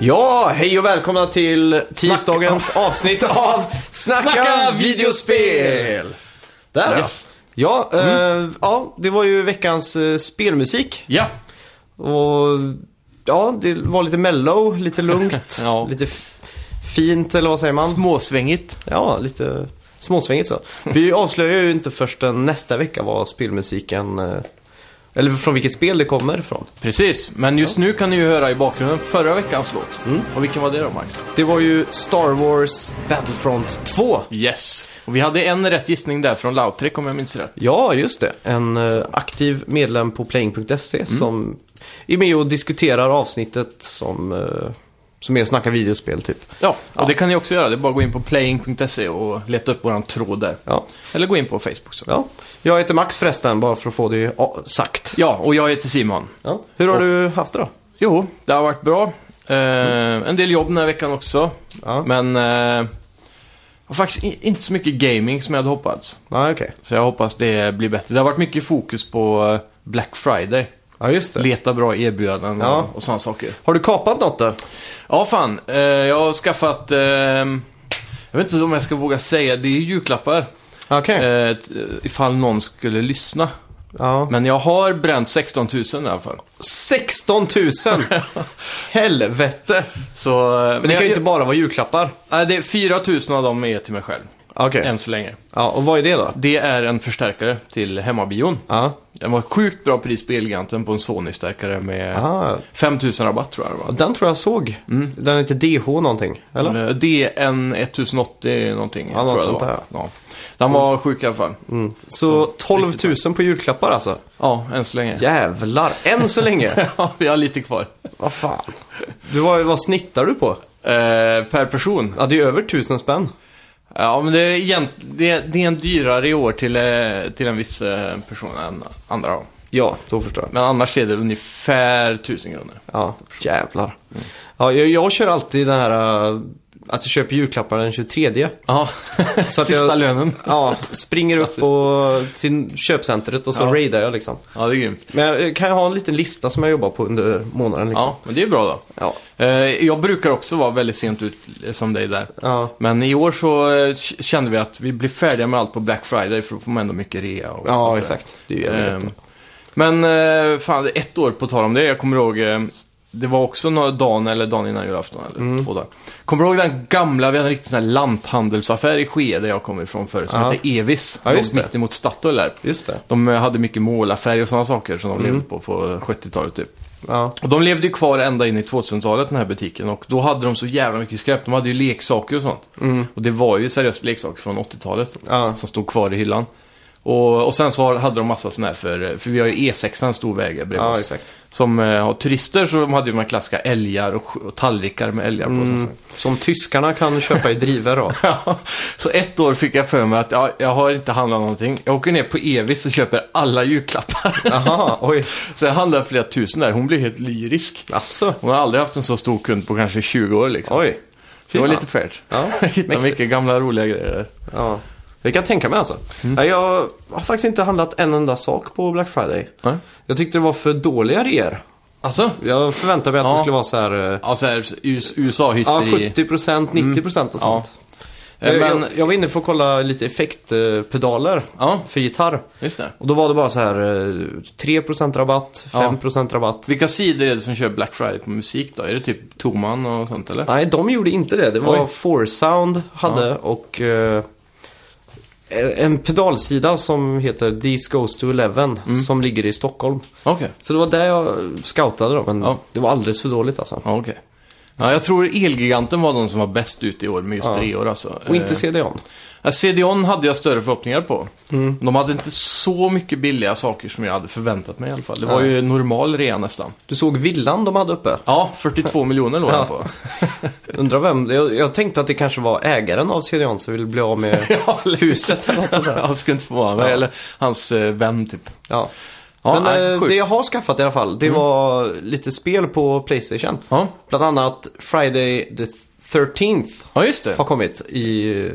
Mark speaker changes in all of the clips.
Speaker 1: Ja, hej och välkomna till tisdagens avsnitt av Snacka,
Speaker 2: Snacka
Speaker 1: videospel. Där ja. Ja, eh,
Speaker 2: Mm.
Speaker 1: ja, det var ju veckans eh, spelmusik.
Speaker 2: Ja,
Speaker 1: Och ja, det var lite mellow, lite lugnt,
Speaker 2: Ja.
Speaker 1: lite f- fint eller vad säger man?
Speaker 2: småsvängigt.
Speaker 1: Ja, lite småsvängigt så. Vi avslöjar ju inte förrän nästa vecka vad spelmusiken, eh, eller från vilket spel det kommer ifrån.
Speaker 2: Precis, men just nu kan ni ju höra i bakgrunden förra veckans låt. Och vilken var det då, Max?
Speaker 1: Det var ju Star Wars Battlefront 2.
Speaker 2: Yes. Och vi hade en rätt gissning där från Lautrec om jag minns rätt.
Speaker 1: Ja, just det. En eh, aktiv medlem på playing.se
Speaker 2: Mm.
Speaker 1: som är med och diskuterar avsnittet som, eh, som är Snacka videospel typ.
Speaker 2: Ja, och det kan ni också göra. Det är bara att gå in på playing.se och leta upp våran tråd där.
Speaker 1: Ja.
Speaker 2: Eller gå in på Facebook så.
Speaker 1: ja. Jag heter Max förresten, bara för att få det ja, sagt.
Speaker 2: Ja, och jag heter Simon.
Speaker 1: Ja. Hur har du haft det då?
Speaker 2: Jo, det har varit bra. Eh, En del jobb den här veckan också.
Speaker 1: Ja.
Speaker 2: Men eh, har faktiskt i- inte så mycket gaming som jag hade hoppats.
Speaker 1: Nej, okej.
Speaker 2: Så jag hoppas det blir bättre. Det har varit mycket fokus på eh, Black Friday.
Speaker 1: Ja, just det.
Speaker 2: Leta bra erbjudanden och-
Speaker 1: Ja.
Speaker 2: och sådana saker.
Speaker 1: Har du kapat något då?
Speaker 2: Ja, fan. Eh, jag har skaffat... Eh, jag vet inte om jag ska våga säga. Det är ju julklappar.
Speaker 1: Okej.
Speaker 2: Eh, t- eh, ifall någon skulle lyssna.
Speaker 1: Ja.
Speaker 2: Men jag har bränt 16 000 i alla fall.
Speaker 1: 16 000! Helvete!
Speaker 2: Så... eh,
Speaker 1: Men det kan
Speaker 2: jag,
Speaker 1: ju inte bara vara julklappar.
Speaker 2: Nej, Eh, det är 4 000 av dem är till mig själv.
Speaker 1: Okej.
Speaker 2: Än så länge.
Speaker 1: Ja, och vad är det då?
Speaker 2: Det är en förstärkare till hemmabion.
Speaker 1: Ja.
Speaker 2: Den var sjukt bra pris på Elgiganten på en Sony-stärkare med
Speaker 1: Ah,
Speaker 2: 5 000 rabatt tror jag det var.
Speaker 1: den tror jag såg.
Speaker 2: Mm.
Speaker 1: Den heter DH någonting, eller?
Speaker 2: Eh, DN 1080 någonting.
Speaker 1: Ja, Mm. något
Speaker 2: tror jag
Speaker 1: sånt
Speaker 2: det
Speaker 1: där,
Speaker 2: var. Ja. Den var sjuk i alla fall.
Speaker 1: Så 12 000 på julklappar alltså?
Speaker 2: Ja, än så länge.
Speaker 1: Jävlar, än så länge.
Speaker 2: Ja, vi har lite kvar.
Speaker 1: vad fan. Du, vad, vad snittar du på?
Speaker 2: Eh, per person.
Speaker 1: Ja, det är över 1000 spänn.
Speaker 2: Ja, men det är, egent... det är, det är en dyrare i år till, eh, till en viss eh, person än andra. år.
Speaker 1: Ja, då förstår jag.
Speaker 2: Men annars är det ungefär 1000 kronor.
Speaker 1: Ja, jävlar. Ja, jag, jag kör alltid den här äh, att jag köper julklappar den 23.
Speaker 2: Ja,
Speaker 1: Så att
Speaker 2: sista
Speaker 1: jag-
Speaker 2: lönen.
Speaker 1: Ja, springer upp på, till köpcentret och så
Speaker 2: Ja.
Speaker 1: raidar jag liksom.
Speaker 2: Ja, det är grymt.
Speaker 1: Men jag kan jag ha en liten lista som jag jobbar på under månaden liksom?
Speaker 2: Ja, men det är bra då.
Speaker 1: Ja.
Speaker 2: Eh, Jag brukar också vara väldigt sent ut eh, som dig där.
Speaker 1: Ja.
Speaker 2: Men i år så eh, k- kände vi att vi blev färdiga med allt på Black Friday för då får man ändå mycket rea och
Speaker 1: Ja,
Speaker 2: allt det där.
Speaker 1: exakt. Det är ju jävligt
Speaker 2: Ehm,
Speaker 1: gött.
Speaker 2: Men eh, fan, ett år på tal om det. Jag kommer ihåg, eh, det var också några dagen eller dagen innan julafton, eller
Speaker 1: Mm.
Speaker 2: två dagar. Kommer du ihåg den gamla, vi hade en riktig sån här lanthandelsaffär i Skede där jag kommer ifrån förut, som
Speaker 1: Ja.
Speaker 2: hette Evis.
Speaker 1: Ja,
Speaker 2: Låg
Speaker 1: just det.
Speaker 2: mitt emot Statoil där.
Speaker 1: Just det.
Speaker 2: De eh, hade mycket målarfärg och sådana saker som de
Speaker 1: Mm.
Speaker 2: levde på på 70-talet typ.
Speaker 1: Ja.
Speaker 2: Och de levde ju kvar ända in i 2000-talet den här butiken och då hade de så jävla mycket skräp. De hade ju leksaker och sånt. Och det var ju seriöst leksaker från 80-talet
Speaker 1: Mm. Ja.
Speaker 2: som stod kvar i hyllan. Och, och sen så hade de massa sådana här för, för vi har ju E6 en stor väg här bredvid
Speaker 1: Ja,
Speaker 2: oss.
Speaker 1: exakt.
Speaker 2: Som eh, har turister så de hade ju de här klassiska älgar och, och tallrikar med älgar på. Mm.
Speaker 1: Som tyskarna kan köpa i drivor då.
Speaker 2: Ja, så ett år fick jag för mig att ja, jag har inte handlat någonting. Jag åker ner på Evis och köper alla julklappar.
Speaker 1: Jaha, oj.
Speaker 2: så jag handlar flera tusen där. Hon blev helt lyrisk.
Speaker 1: Asså.
Speaker 2: Hon har aldrig haft en så stor kund på kanske 20 år liksom.
Speaker 1: Oj.
Speaker 2: det var
Speaker 1: fan.
Speaker 2: lite fräscht.
Speaker 1: Ja,
Speaker 2: Hittade mycket gamla roliga grejer där.
Speaker 1: Ja. Jag kan tänka mig alltså.
Speaker 2: Mm.
Speaker 1: Nej, jag har faktiskt inte handlat en enda sak på Black Friday.
Speaker 2: Nej.
Speaker 1: Jag tyckte det var för dåliga reor.
Speaker 2: Alltså?
Speaker 1: Jag förväntade mig att det
Speaker 2: Ja.
Speaker 1: skulle vara så här... eh,
Speaker 2: Ja, så här US-
Speaker 1: Ja,
Speaker 2: USA-hysteri.
Speaker 1: 70%, 90% och
Speaker 2: Mm. Ja.
Speaker 1: sånt.
Speaker 2: Eh,
Speaker 1: Jag-
Speaker 2: Men,
Speaker 1: jag, jag var inne för att kolla lite effektpedaler
Speaker 2: ja,
Speaker 1: för gitarr.
Speaker 2: just det.
Speaker 1: Och då var det bara så här eh, 3% rabatt,
Speaker 2: Ja.
Speaker 1: 5% rabatt.
Speaker 2: Vilka sidor är det som kör Black Friday på musik då? Är det typ Toman och sånt eller?
Speaker 1: Nej, de gjorde inte det. Det var
Speaker 2: Oj.
Speaker 1: Four Sound hade och eh, en pedalsida som heter These Goes to Eleven
Speaker 2: Mm.
Speaker 1: som ligger i Stockholm.
Speaker 2: Okej.
Speaker 1: Så det var där jag scoutade dem, men
Speaker 2: Ja.
Speaker 1: det var alldeles för dåligt alltså.
Speaker 2: Ja, okej. Ja, jag tror Elgiganten var de som var bäst ut i år med just
Speaker 1: Ja.
Speaker 2: reor alltså.
Speaker 1: Och inte
Speaker 2: Eh,
Speaker 1: CD-ON.
Speaker 2: ja, CDON hade jag större förhoppningar på.
Speaker 1: Mm.
Speaker 2: De hade inte så mycket billiga saker som jag hade förväntat mig i alla fall. Det var
Speaker 1: Nej.
Speaker 2: ju normal rea nästan.
Speaker 1: Du såg villan de hade uppe.
Speaker 2: Ja, 42 miljoner låg
Speaker 1: Ja.
Speaker 2: den på.
Speaker 1: Undrar vem. Jag, jag tänkte att det kanske var ägaren av CD-ON som ville bli av med
Speaker 2: Ja, eller hur?
Speaker 1: huset eller något sånt där.
Speaker 2: Han skulle inte förvåna mig.
Speaker 1: Ja.
Speaker 2: Eller hans eh, vän, typ.
Speaker 1: Ja.
Speaker 2: Ja,
Speaker 1: men
Speaker 2: nej,
Speaker 1: eh,
Speaker 2: sjukt. Mm.
Speaker 1: det jag har skaffat i alla fall, det var lite spel på Playstation.
Speaker 2: Ja,
Speaker 1: Bland annat Friday the 13th
Speaker 2: ja just det.
Speaker 1: har kommit i... eh,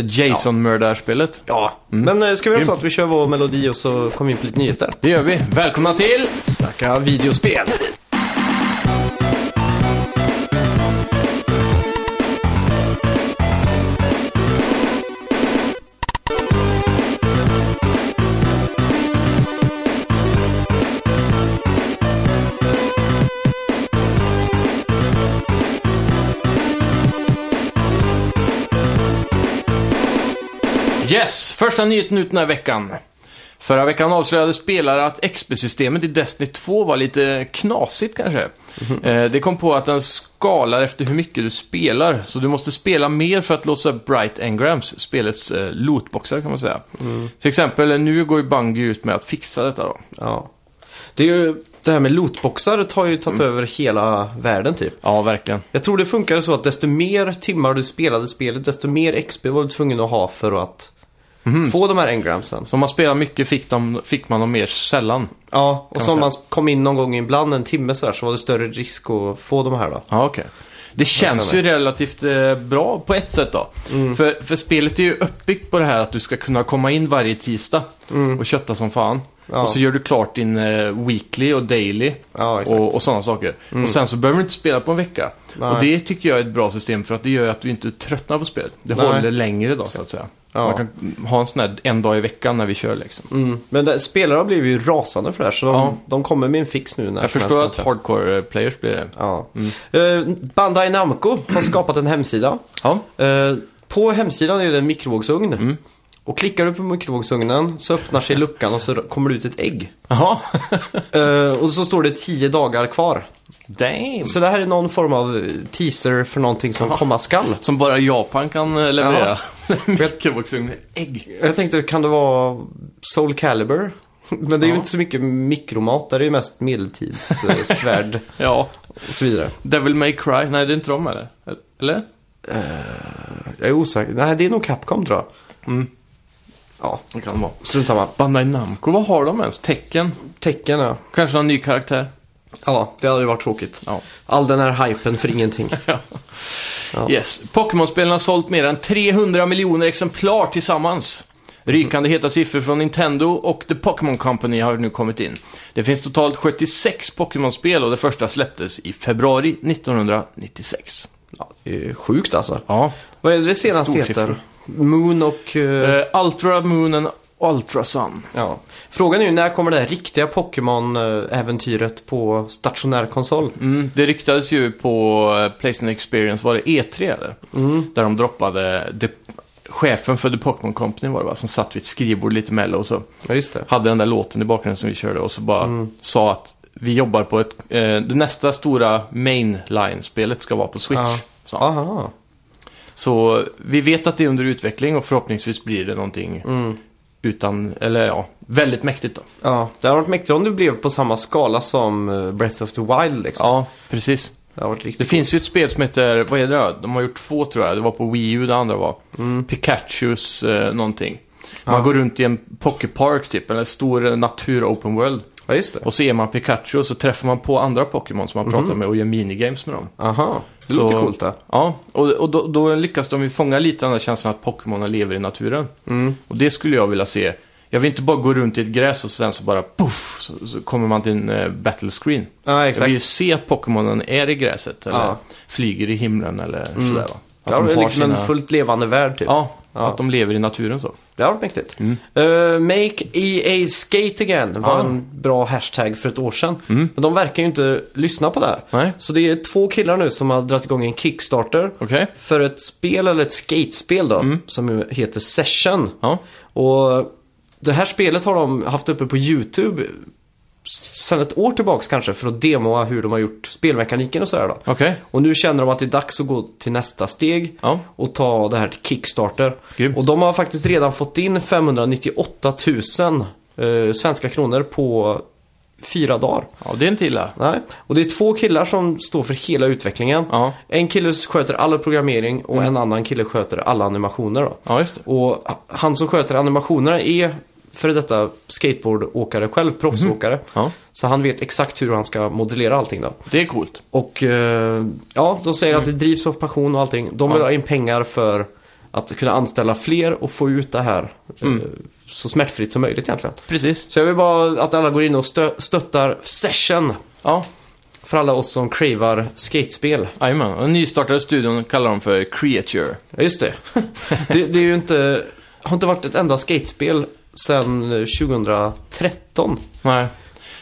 Speaker 2: det Jason-mördarspelet.
Speaker 1: Ja,
Speaker 2: Mm.
Speaker 1: men eh, ska vi göra så att vi kör vår melodi och så kommer vi in på lite nyheter?
Speaker 2: Det gör vi. Välkomna till...
Speaker 1: Snacka videospel!
Speaker 2: Yes! Första nyheten ut den här veckan. Förra veckan avslöjade spelare att XP-systemet i Destiny 2 var lite knasigt kanske.
Speaker 1: Mhm.
Speaker 2: Eh, Det kom på att den skalar efter hur mycket du spelar, så du måste spela mer för att låsa Bright Engrams, spelets eh, lootboxar kan man säga.
Speaker 1: Mm.
Speaker 2: Till exempel, eh, nu går ju Bungie ut med att fixa detta då.
Speaker 1: Ja. Det är ju det här med lootboxar tar ju tagit
Speaker 2: Mm.
Speaker 1: över hela världen typ.
Speaker 2: Ja, verkligen.
Speaker 1: Jag tror det funkade så att desto mer timmar du spelade spelet, desto mer XP var du tvungen att ha för att
Speaker 2: Mhm.
Speaker 1: få de här engramsen.
Speaker 2: Så om man spelar mycket fick, de, fick man dem mer sällan.
Speaker 1: Ja, och
Speaker 2: Kan
Speaker 1: som
Speaker 2: man
Speaker 1: man kom in någon gång ibland en timme så här så var det större risk att få de här då.
Speaker 2: Ja, okej. Det känns ju relativt eh, bra på ett sätt då.
Speaker 1: Mm.
Speaker 2: För, för spelet är ju uppbyggt på det här att du ska kunna komma in varje tisdag och kötta som fan.
Speaker 1: Mm. Ja.
Speaker 2: Och så gör du klart din eh, weekly och daily
Speaker 1: Ja, exakt. Mm.
Speaker 2: och, och sådana saker. Och sen så behöver du inte spela på en vecka.
Speaker 1: Nej.
Speaker 2: Och det tycker jag är ett bra system för att det gör att du inte tröttnar på spelet. Det
Speaker 1: Nej.
Speaker 2: håller längre då så att säga.
Speaker 1: Ja.
Speaker 2: Man kan ha en sån här en dag i veckan när vi kör liksom.
Speaker 1: Mm. Men det, spelare har blivit ju rasande för det här så de,
Speaker 2: Ja.
Speaker 1: de kommer med en fix nu. När
Speaker 2: Jag
Speaker 1: som
Speaker 2: förstår att
Speaker 1: helst, egentligen.
Speaker 2: hardcore players blir det.
Speaker 1: Ja. Eh, Bandai Namco har skapat en hemsida.
Speaker 2: Ja,
Speaker 1: Eh, på hemsidan är det en mikrovågsugn. Och klickar du på mikrovågsugnen så öppnar sig luckan och så kommer det ut ett ägg.
Speaker 2: jaha.
Speaker 1: Eh, och så står det 10 dagar kvar.
Speaker 2: Damn.
Speaker 1: Så det här är någon form av eh, teaser för någonting som komma skall.
Speaker 2: Som bara Japan kan eh, leverera. Mikrovågsugn med ägg.
Speaker 1: Jag tänkte, kan det vara Soul Calibur? Men det är ju inte så mycket mikromat, där är ju mest medeltidssvärd
Speaker 2: Ja,
Speaker 1: och så vidare.
Speaker 2: Devil May Cry. Nej, det är inte de eller? Eller?
Speaker 1: Eh, Jag är osäker. Nej, det är nog Capcom tror jag. Ja,
Speaker 2: Det kan de vara.
Speaker 1: strunt samma.
Speaker 2: Bandai Namco, vad har de ens? Tecken?
Speaker 1: Tecken ja.
Speaker 2: Kanske någon ny karaktär?
Speaker 1: Ja, det hade ju varit tråkigt.
Speaker 2: Ja.
Speaker 1: All den här hypen för ingenting. Ja.
Speaker 2: Yes. Pokémon-spelen har sålt mer än 300 miljoner exemplar tillsammans. Rykande heta siffror från Nintendo och The Pokémon Company har nu kommit in. Det finns totalt 76 Pokémon-spel och det första släpptes i februari 1996.
Speaker 1: Ja, det är ju sjukt alltså.
Speaker 2: Ja.
Speaker 1: Vad är det senaste
Speaker 2: Storsiffror.
Speaker 1: heter? Moon och... eh,
Speaker 2: Eh, Ultra Moon and Ultra Sun.
Speaker 1: Ja. Frågan är ju när kommer det här riktiga Pokémon-äventyret på stationär konsol?
Speaker 2: Mm, det ryktades ju på eh, Playstation Experience, var det E3 eller? Där de droppade det, chefen för The Pokémon Company var det va, som satt vid ett skrivbord lite mello och så
Speaker 1: Ja, just det.
Speaker 2: hade den där låten i bakgrunden som vi körde och så bara sa att vi jobbar på ett, eh, det nästa stora mainline-spelet ska vara på Switch.
Speaker 1: Ja.
Speaker 2: sa han.
Speaker 1: Aha.
Speaker 2: Så vi vet att det är under utveckling och förhoppningsvis blir det någonting utan, eller ja, väldigt mäktigt då.
Speaker 1: Ja, det hade varit mäktigt om det blev på samma skala som eh, Breath of the Wild liksom.
Speaker 2: Ja, precis.
Speaker 1: Det hade varit
Speaker 2: Det
Speaker 1: riktigt
Speaker 2: finns ju ett spel som heter, vad är det då? De har gjort två tror jag. Det var på Wii U det andra var. Pikachus eh, någonting. Man går runt i en pocket park typ, eller en stor eh, natur open world.
Speaker 1: Ja, just det.
Speaker 2: Och så är man Pikachu och så träffar man på andra Pokémon som man pratar med och gör minigames med dem.
Speaker 1: Aha, det
Speaker 2: Så-
Speaker 1: låter coolt det.
Speaker 2: Ja, och, och då, då lyckas de ju fånga lite den där känslan att Pokémonen lever i naturen. Och det skulle jag vilja se. Jag vill inte bara gå runt i ett gräs och sen så bara poff, så, så kommer man till en eh, battle screen.
Speaker 1: Ja,
Speaker 2: Jag
Speaker 1: exakt.
Speaker 2: vill ju se att Pokémonen är i gräset eller
Speaker 1: Ja. Mm.
Speaker 2: flyger i himlen eller sådär va. Att
Speaker 1: Det hade
Speaker 2: de
Speaker 1: varit
Speaker 2: har
Speaker 1: liksom en fullt levande värld typ.
Speaker 2: ja,
Speaker 1: Ja.
Speaker 2: att de lever i naturen så.
Speaker 1: Det hade varit mäktigt. Eh, make EA Skate Again var
Speaker 2: Ja.
Speaker 1: en bra hashtag för ett år sedan. Men de verkar ju inte lyssna på det här.
Speaker 2: Mm. Nej.
Speaker 1: Så det är två killar nu som har dragit igång en Kickstarter.
Speaker 2: Okej? Mm.
Speaker 1: För ett spel, eller ett skatespel då, som heter Session.
Speaker 2: Ja.
Speaker 1: Och det här spelet har de haft uppe på YouTube sedan ett år tillbaks kanske för att demoa hur de har gjort spelmekaniken och sådär då.
Speaker 2: Okej.
Speaker 1: Och nu känner de att det är dags att gå till nästa steg
Speaker 2: Ja.
Speaker 1: och ta det här till Kickstarter.
Speaker 2: Grymt.
Speaker 1: Och de har faktiskt redan fått in 598 000 eh, svenska kronor på fyra dagar.
Speaker 2: ja, det är inte illa.
Speaker 1: Nej. Och det är två killar som står för hela utvecklingen.
Speaker 2: Ja, Mm.
Speaker 1: En kille sköter all programmering och en annan kille sköter alla animationer. Då.
Speaker 2: ja just det.
Speaker 1: Och han som sköter animationerna är före detta skateboardåkare själv, proffsåkare.
Speaker 2: Mm-hmm. Ja,
Speaker 1: Så han vet exakt hur han ska modellera allting då.
Speaker 2: det är coolt.
Speaker 1: Och eh, ja, de säger att det drivs av passion och allting. De vill
Speaker 2: Ja.
Speaker 1: ha in pengar för att kunna anställa fler och få ut det här eh, så smärtfritt som möjligt egentligen.
Speaker 2: Precis.
Speaker 1: Så jag vill bara att alla går in och stö- stöttar Session
Speaker 2: Ja,
Speaker 1: för alla oss som cravar skatespel.
Speaker 2: jajamän. Och Den nystartade studion kallar de för Creature.
Speaker 1: Ja, just det. det, det är ju inte, har inte varit ett enda skatespel sedan 2013.
Speaker 2: Nej.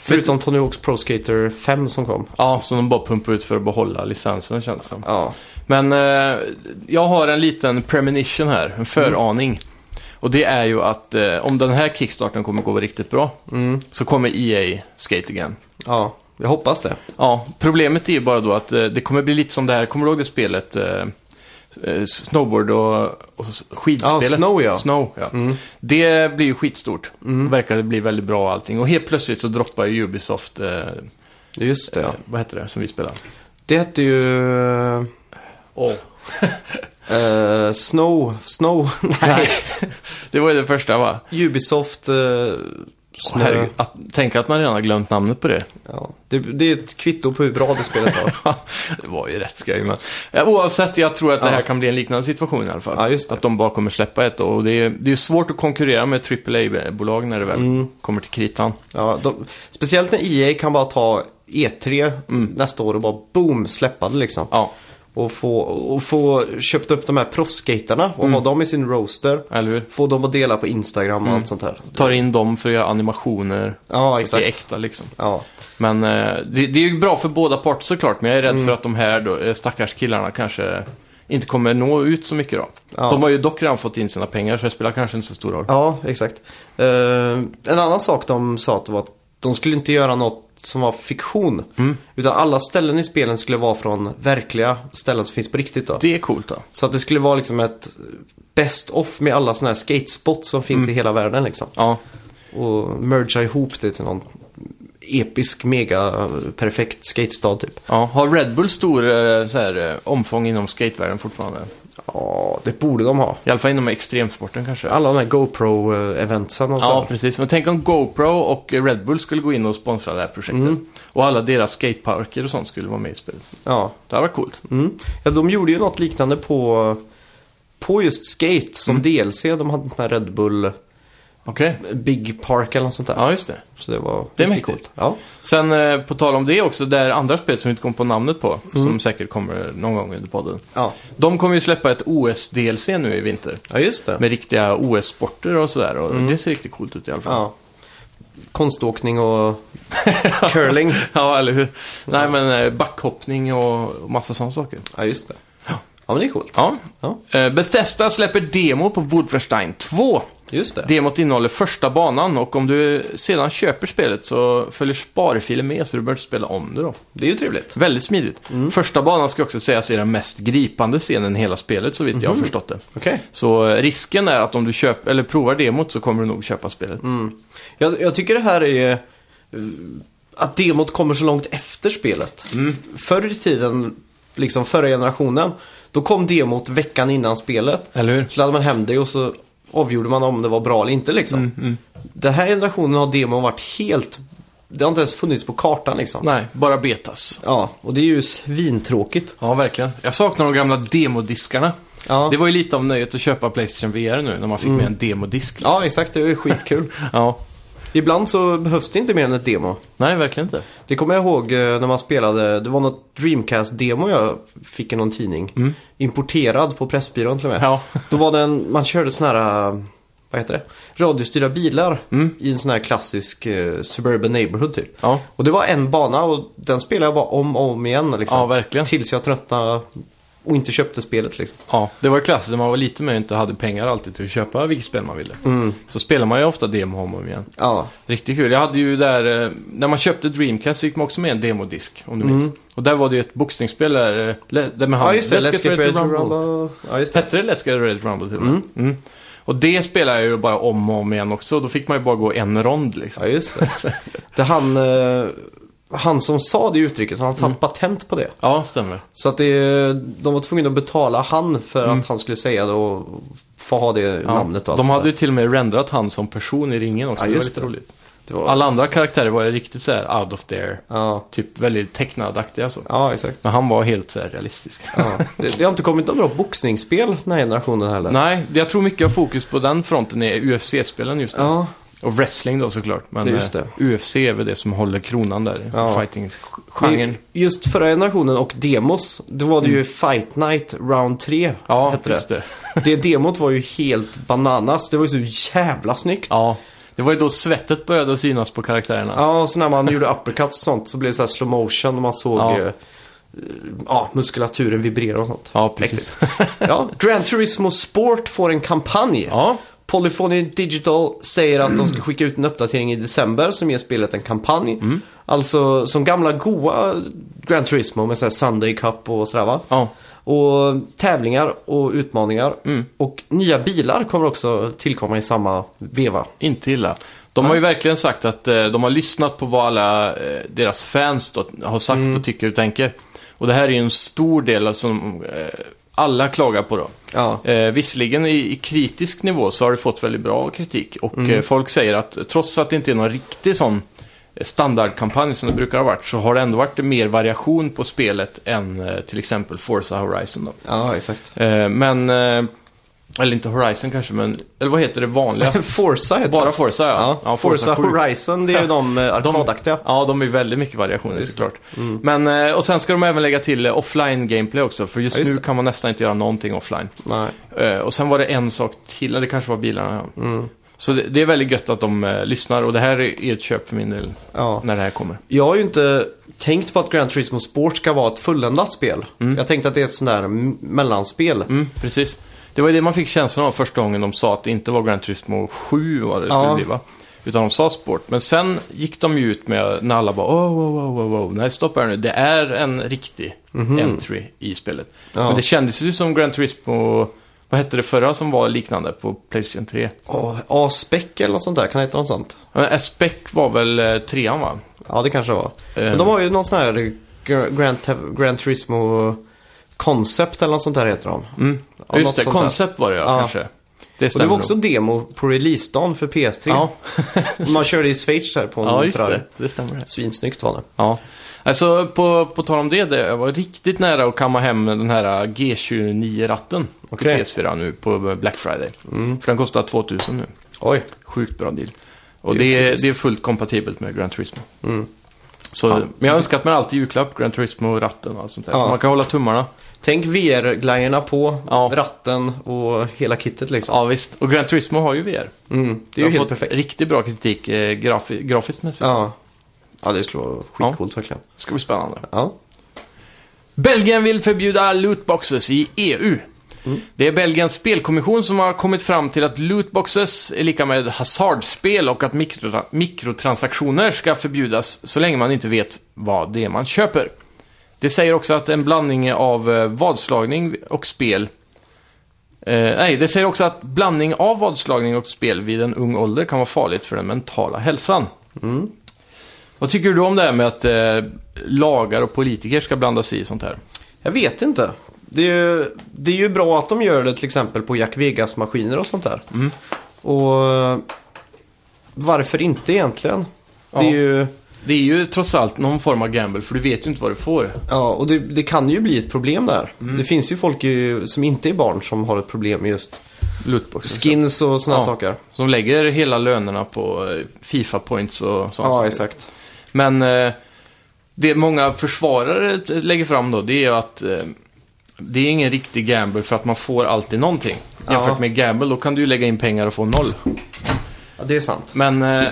Speaker 1: Förutom Tony Hawk's Pro Skater 5 som kom.
Speaker 2: Ja, som de bara pumpar ut för att behålla licensen känns det som.
Speaker 1: Ja, Mm.
Speaker 2: Men eh, jag har en liten premonition här, en föraning. Och Och det är ju att eh, om den här kickstarten kommer gå riktigt bra
Speaker 1: Mm.
Speaker 2: så kommer EA Skate Again.
Speaker 1: Ja, jag hoppas det.
Speaker 2: Ja, problemet är ju bara då att eh, det kommer bli lite som det här, kommer du ihåg det spelet? Eh, eh, snowboard och, och s- skidspelet.
Speaker 1: Ja, Snow, ja. Mm.
Speaker 2: Snow, ja. Det blir ju skitstort. Det verkar bli väldigt bra och allting. Och helt plötsligt så droppar ju Ubisoft, eh,
Speaker 1: Just det, ja.
Speaker 2: vad heter det som vi spelar?
Speaker 1: Det hette ju...
Speaker 2: Oh.
Speaker 1: eh, Snow... Snow... Nej.
Speaker 2: Det var ju det första va?
Speaker 1: Ubisoft... eh,
Speaker 2: Åh,
Speaker 1: snö.
Speaker 2: herregud, att, tänk att man redan har glömt namnet på det.
Speaker 1: Ja, det, det är ett kvitto på hur bra det spelet var.
Speaker 2: det var ju rätt skoj, men Ja, oavsett, jag tror att det här
Speaker 1: Ja.
Speaker 2: kan bli en liknande situation i alla fall.
Speaker 1: Ja, just det.
Speaker 2: Att de bara kommer släppa ett och det är, det är svårt att konkurrera med AAA-bolag när det väl
Speaker 1: Mm.
Speaker 2: kommer till kritan.
Speaker 1: Ja, de, speciellt när EA kan bara ta E3
Speaker 2: Mm.
Speaker 1: nästa år och bara boom släppa det liksom.
Speaker 2: Ja,
Speaker 1: Och, få, och få köpt upp de här proffsskaterna och
Speaker 2: Mm.
Speaker 1: ha dem i sin roaster.
Speaker 2: eller hur?
Speaker 1: Få dem att dela på Instagram och allt sånt här.
Speaker 2: Tar in dem för att göra animationer.
Speaker 1: Ja,
Speaker 2: Mm. så att det är
Speaker 1: exakt.
Speaker 2: äkta liksom.
Speaker 1: Ja,
Speaker 2: Men eh, det, det är ju bra för båda parter såklart, men jag är rädd
Speaker 1: Mm.
Speaker 2: för att de här då, eh, stackars killarna kanske inte kommer nå ut så mycket då.
Speaker 1: Ja.
Speaker 2: De har ju dock redan fått in sina pengar, så det spelar kanske inte så stor roll.
Speaker 1: ja exakt. Eh, en annan sak de sa att det var att de skulle inte göra något som var fiktion. Utan alla ställen i spelen skulle vara från verkliga ställen som finns på riktigt. Då.
Speaker 2: Det är coolt då.
Speaker 1: Så att det skulle vara liksom ett best off med alla sådana här skatespots som finns i hela världen liksom.
Speaker 2: Ja,
Speaker 1: Och mergea ihop det till någon episk, mega, eh, perfekt skatestad typ.
Speaker 2: ja. Har Red Bull stor eh, så här, eh, omfång inom skatevärlden fortfarande?
Speaker 1: Ja, det borde de ha.
Speaker 2: I alla fall inom extremsporten kanske?
Speaker 1: Alla de här GoPro-eventsen och så.
Speaker 2: Ja, precis. Men tänk om GoPro och Red Bull skulle gå in och sponsra det här projektet.
Speaker 1: Mm.
Speaker 2: Och alla deras skateparker och sånt skulle vara med i spelet.
Speaker 1: Ja.
Speaker 2: Det hade varit coolt.
Speaker 1: Mm. ja, de gjorde ju något liknande på, på just skate
Speaker 2: Mm.
Speaker 1: som DLC. De hade en sån här Red Bull
Speaker 2: Okej.
Speaker 1: Big Park eller något sånt där.
Speaker 2: Ja, just det.
Speaker 1: Så det var
Speaker 2: Det är
Speaker 1: riktigt
Speaker 2: mäktigt.
Speaker 1: Ja.
Speaker 2: Sen eh, på tal om det också, det här andra spelet som vi inte kom på namnet på, som säkert kommer någon gång under podden.
Speaker 1: Mm. Ja.
Speaker 2: De kommer ju släppa ett OS-DLC nu i vinter.
Speaker 1: ja, just det.
Speaker 2: Med riktiga OS-sporter och sådär. Och Det ser riktigt coolt ut i alla fall.
Speaker 1: Mm. Ja. Konståkning och curling.
Speaker 2: Ja, eller hur? Nej, men eh, backhoppning och och massa sådana saker.
Speaker 1: Ja, just det. Ja, men det är coolt.
Speaker 2: Ja.
Speaker 1: Ja,
Speaker 2: Eh, Bethesda släpper demo på Wolfenstein 2.
Speaker 1: just det.
Speaker 2: Demot innehåller första banan och om du sedan köper spelet så följer sparfilen med så du behöver inte spela om det då.
Speaker 1: Det är ju trevligt.
Speaker 2: Väldigt smidigt.
Speaker 1: Mm.
Speaker 2: Första banan ska också sägas är den mest gripande scenen i hela spelet så vitt jag har förstått det.
Speaker 1: Mhm. Okej.
Speaker 2: Så eh, risken är att om du köp, eller provar demot så kommer du nog köpa spelet.
Speaker 1: Mm. Jag, jag tycker det här är... eh, Att demot kommer så långt efter spelet.
Speaker 2: Mm.
Speaker 1: Förr i tiden, liksom förra generationen, då kom demot veckan innan spelet.
Speaker 2: Eller hur?
Speaker 1: Så laddade man hem det och så avgjorde man om det var bra eller inte liksom.
Speaker 2: Mm,
Speaker 1: Den här generationen har demon varit helt... Det har inte ens funnits på kartan liksom.
Speaker 2: Nej, bara betas.
Speaker 1: Ja, och det är ju svintråkigt.
Speaker 2: Ja, verkligen. Jag saknar de gamla demodiskarna.
Speaker 1: Ja, Mm.
Speaker 2: Det var ju lite av nöjet att köpa Playstation VR nu när man fick med en demodisk.
Speaker 1: ja exakt. Det är ju skitkul.
Speaker 2: ja.
Speaker 1: Ibland så behövs det inte mer än ett demo.
Speaker 2: Nej, verkligen inte.
Speaker 1: Det kommer jag ihåg eh, när man spelade, det var något Dreamcast-demo jag fick i någon tidning. Importerad på Pressbyrån till och med.
Speaker 2: Mm. Ja.
Speaker 1: Då var det en, man körde sån här, eh, vad heter det, radiostyrda bilar i en sån här klassisk eh, suburban neighborhood typ.
Speaker 2: Mm. Ja.
Speaker 1: Och det var en bana och den spelade jag bara om och om igen liksom.
Speaker 2: Ja, verkligen.
Speaker 1: Tills jag tröttnade och inte köpte spelet liksom.
Speaker 2: Ja, det var ju klassiskt när man var liten men inte hade pengar alltid till att köpa vilket spel man ville.
Speaker 1: Mm.
Speaker 2: Så spelar man ju ofta demo om och om igen.
Speaker 1: Ja,
Speaker 2: Riktigt kul. Jag hade ju där, eh, när man köpte Dreamcast fick man också med en demodisk, om du minns. Och där var det ju ett boxningsspel där, eh, le- där med
Speaker 1: Mm.
Speaker 2: han...
Speaker 1: ja just det. Let's Get Ready to
Speaker 2: Rumble.
Speaker 1: Rumble. Ja, just det.
Speaker 2: Hette det Let's Get Ready to Rumble till och med? Mm. Och det spelade jag ju bara om och om igen också. Då fick man ju bara gå en rond liksom.
Speaker 1: Ja, just det. det han, eh, han som sa det uttrycket, så han har
Speaker 2: Mm.
Speaker 1: tagit patent på det.
Speaker 2: Ja, stämmer.
Speaker 1: Så att det, de var tvungna att betala han för att han skulle säga det och få ha det
Speaker 2: Mm. Ja.
Speaker 1: namnet och allt
Speaker 2: De
Speaker 1: sånt
Speaker 2: hade ju
Speaker 1: där.
Speaker 2: till och med renderat han som person i ringen också.
Speaker 1: Ja,
Speaker 2: det var
Speaker 1: just
Speaker 2: lite
Speaker 1: det.
Speaker 2: roligt.
Speaker 1: det var,
Speaker 2: Alla andra karaktärer var ju riktigt så här out of there.
Speaker 1: ja.
Speaker 2: Typ väldigt tecknadaktiga så.
Speaker 1: ja, exakt.
Speaker 2: Men han var helt så här realistisk.
Speaker 1: Ja. Det, det har inte kommit några bra boxningsspel den här generationen heller.
Speaker 2: Nej, jag tror mycket av fokus på den fronten är UFC-spelen just nu.
Speaker 1: Ja,
Speaker 2: Och wrestling då såklart. Men
Speaker 1: Det är just
Speaker 2: eh, UFC är väl det som håller kronan där.
Speaker 1: Ja.
Speaker 2: Fighting-genren.
Speaker 1: det- Just förra generationen och demos, då var det ju Fight Night Round 3.
Speaker 2: Mm. Ja,
Speaker 1: hette
Speaker 2: just
Speaker 1: det.
Speaker 2: det.
Speaker 1: det demot var ju helt bananas. Det var ju så jävla snyggt.
Speaker 2: Ja. Det var ju då svettet började synas på karaktärerna.
Speaker 1: Ja, och så när man gjorde uppercuts och sånt så blev det så här slow motion och man såg
Speaker 2: Ja.
Speaker 1: ja. ja, muskulaturen vibrera och sånt.
Speaker 2: Ja, precis.
Speaker 1: Ja, Gran Turismo Sport får en kampanj.
Speaker 2: Ja,
Speaker 1: Polyphony Digital säger att de ska skicka ut en uppdatering i december som ger spelet en kampanj. Alltså som gamla goa Gran Turismo med så här Sunday Cup och sådär va.
Speaker 2: Ja.
Speaker 1: Och tävlingar och utmaningar. Och nya bilar kommer också tillkomma i samma veva.
Speaker 2: Inte illa. De har ju verkligen sagt att eh, de har lyssnat på vad alla eh, deras fans då, har sagt
Speaker 1: Mm.
Speaker 2: och tycker och tänker. Och det här är ju en stor del som eh, alla klagar på då.
Speaker 1: Ja.
Speaker 2: Eh, visserligen i, i kritisk nivå så har det fått väldigt bra kritik. Och
Speaker 1: Mm.
Speaker 2: eh, folk säger att trots att det inte är någon riktig sån eh, standardkampanj som det brukar ha varit så har det ändå varit mer variation på spelet än eh, till exempel Forza Horizon då.
Speaker 1: Ja, exakt.
Speaker 2: Eh, men, eh, eller inte Horizon kanske, men, eller vad heter det vanliga?
Speaker 1: Forza heter
Speaker 2: Bara
Speaker 1: det.
Speaker 2: Forza ja.
Speaker 1: Ja, Forza,
Speaker 2: sju.
Speaker 1: Horizon, det är ju de eh, arkadaktiga.
Speaker 2: Ja, de är väldigt mycket variationer såklart.
Speaker 1: Mm.
Speaker 2: Men, eh, och sen ska de även lägga till eh, offline-gameplay också, för just,
Speaker 1: Ja, just
Speaker 2: nu
Speaker 1: det.
Speaker 2: kan man nästan inte göra någonting offline.
Speaker 1: Nej.
Speaker 2: Eh, Och sen var det en sak till, eller det kanske var bilarna. ja.
Speaker 1: Mm.
Speaker 2: Så det, det är väldigt gött att de eh, lyssnar och det här är ett köp för min del
Speaker 1: Ja.
Speaker 2: när det här kommer.
Speaker 1: Jag har ju inte tänkt på att Gran Turismo Sport ska vara ett fulländat spel. Jag tänkte att det är ett sånt där m- mellanspel.
Speaker 2: Mm, precis. Det var ju det man fick känslan av första gången de sa att det inte var Gran Turismo 7 vad det skulle
Speaker 1: Ja.
Speaker 2: bli va? Utan de sa sport. Men sen gick de ju ut med, när alla bara oh, oh, oh, oh, oh. nej stoppa här nu. Det är en riktig entry i spelet.
Speaker 1: Mhm. Ja.
Speaker 2: Men det kändes ju som Gran Turismo, vad hette det förra som var liknande på Playstation 3?
Speaker 1: Åh, A-spec eller något sånt där, kan det heta något sånt?
Speaker 2: Men Aspec var väl eh, trean va?
Speaker 1: Ja, det kanske det var.
Speaker 2: Eh.
Speaker 1: Men de har ju någon sån här Gra- Gran, Te- Gran Turismo Concept eller något sånt där heter de.
Speaker 2: Ja,
Speaker 1: Ja,
Speaker 2: Mm. Just
Speaker 1: något
Speaker 2: det,
Speaker 1: sånt där.
Speaker 2: koncept var det ja,
Speaker 1: Ja.
Speaker 2: kanske. Det
Speaker 1: Och det
Speaker 2: stämmer
Speaker 1: var också
Speaker 2: nog.
Speaker 1: demo på releasedagen för PS3.
Speaker 2: Ja,
Speaker 1: Man körde i Schweiz där på en
Speaker 2: ja just
Speaker 1: Ferrari.
Speaker 2: det. Det stämmer. Det.
Speaker 1: Svinsnyggt var det.
Speaker 2: Ja, alltså på, på tal om det, det jag var riktigt nära att kamma hem den här G29-ratten
Speaker 1: Okej. Mm.
Speaker 2: till PS4 nu på Black Friday. För den kostar 2000 nu.
Speaker 1: Oj,
Speaker 2: Sjukt bra deal. Och
Speaker 1: Det är
Speaker 2: det är,
Speaker 1: typiskt. Mm.
Speaker 2: det är fullt kompatibelt med Gran Turismo. Så, men jag har önskat mig alltid julklapp, Gran Turismo-ratten och allt sånt där.
Speaker 1: Ja.
Speaker 2: Så Man kan hålla tummarna.
Speaker 1: tänk VR-glajjorna på,
Speaker 2: Ja.
Speaker 1: ratten och hela kittet liksom.
Speaker 2: Ja, visst. Och Gran Turismo har ju VR.
Speaker 1: Mm, det är
Speaker 2: Jag
Speaker 1: ju
Speaker 2: har
Speaker 1: helt
Speaker 2: fått
Speaker 1: perfekt.
Speaker 2: riktigt bra kritik eh, grafi- grafiskt mässigt.
Speaker 1: Ja. ja, det skulle vara skitcoolt verkligen.
Speaker 2: Ska bli spännande.
Speaker 1: Ja.
Speaker 2: Belgien vill förbjuda lootboxes i EU. Det är Belgiens spelkommission som har kommit fram till att lootboxes är lika med hasardspel och att mikro mikrotransaktioner ska förbjudas så länge man inte vet vad det är man köper. Det säger också att en blandning av eh, vadslagning och spel Eh, nej, det säger också att blandning av vadslagning och spel vid en ung ålder kan vara farligt för den mentala hälsan. Vad tycker du om det här med att eh, lagar och politiker ska blanda sig i sånt här?
Speaker 1: Jag vet inte. Det är, ju, det är ju bra att de gör det till exempel på Jack Vegas-maskiner och sånt där. Och eh, varför inte egentligen?
Speaker 2: Ja.
Speaker 1: Det är ju,
Speaker 2: Det är ju trots allt någon form av gamble, för du vet ju inte vad du får.
Speaker 1: ja, och det, det kan ju bli ett problem där. Det finns ju folk ju, som inte är barn som har ett problem med just
Speaker 2: Lootboxen.
Speaker 1: skins och sådana
Speaker 2: Ja.
Speaker 1: saker.
Speaker 2: Som lägger hela lönerna på eh, Fifa-points och sånt.
Speaker 1: Ja, exakt.
Speaker 2: Men eh, det många försvarare t- lägger fram då, det är ju att eh, det är ingen riktig gamble för att man får alltid någonting. Jämfört
Speaker 1: Ja.
Speaker 2: med gamble, då kan du ju lägga in pengar och få noll.
Speaker 1: Ja, det är sant.
Speaker 2: Men, eh,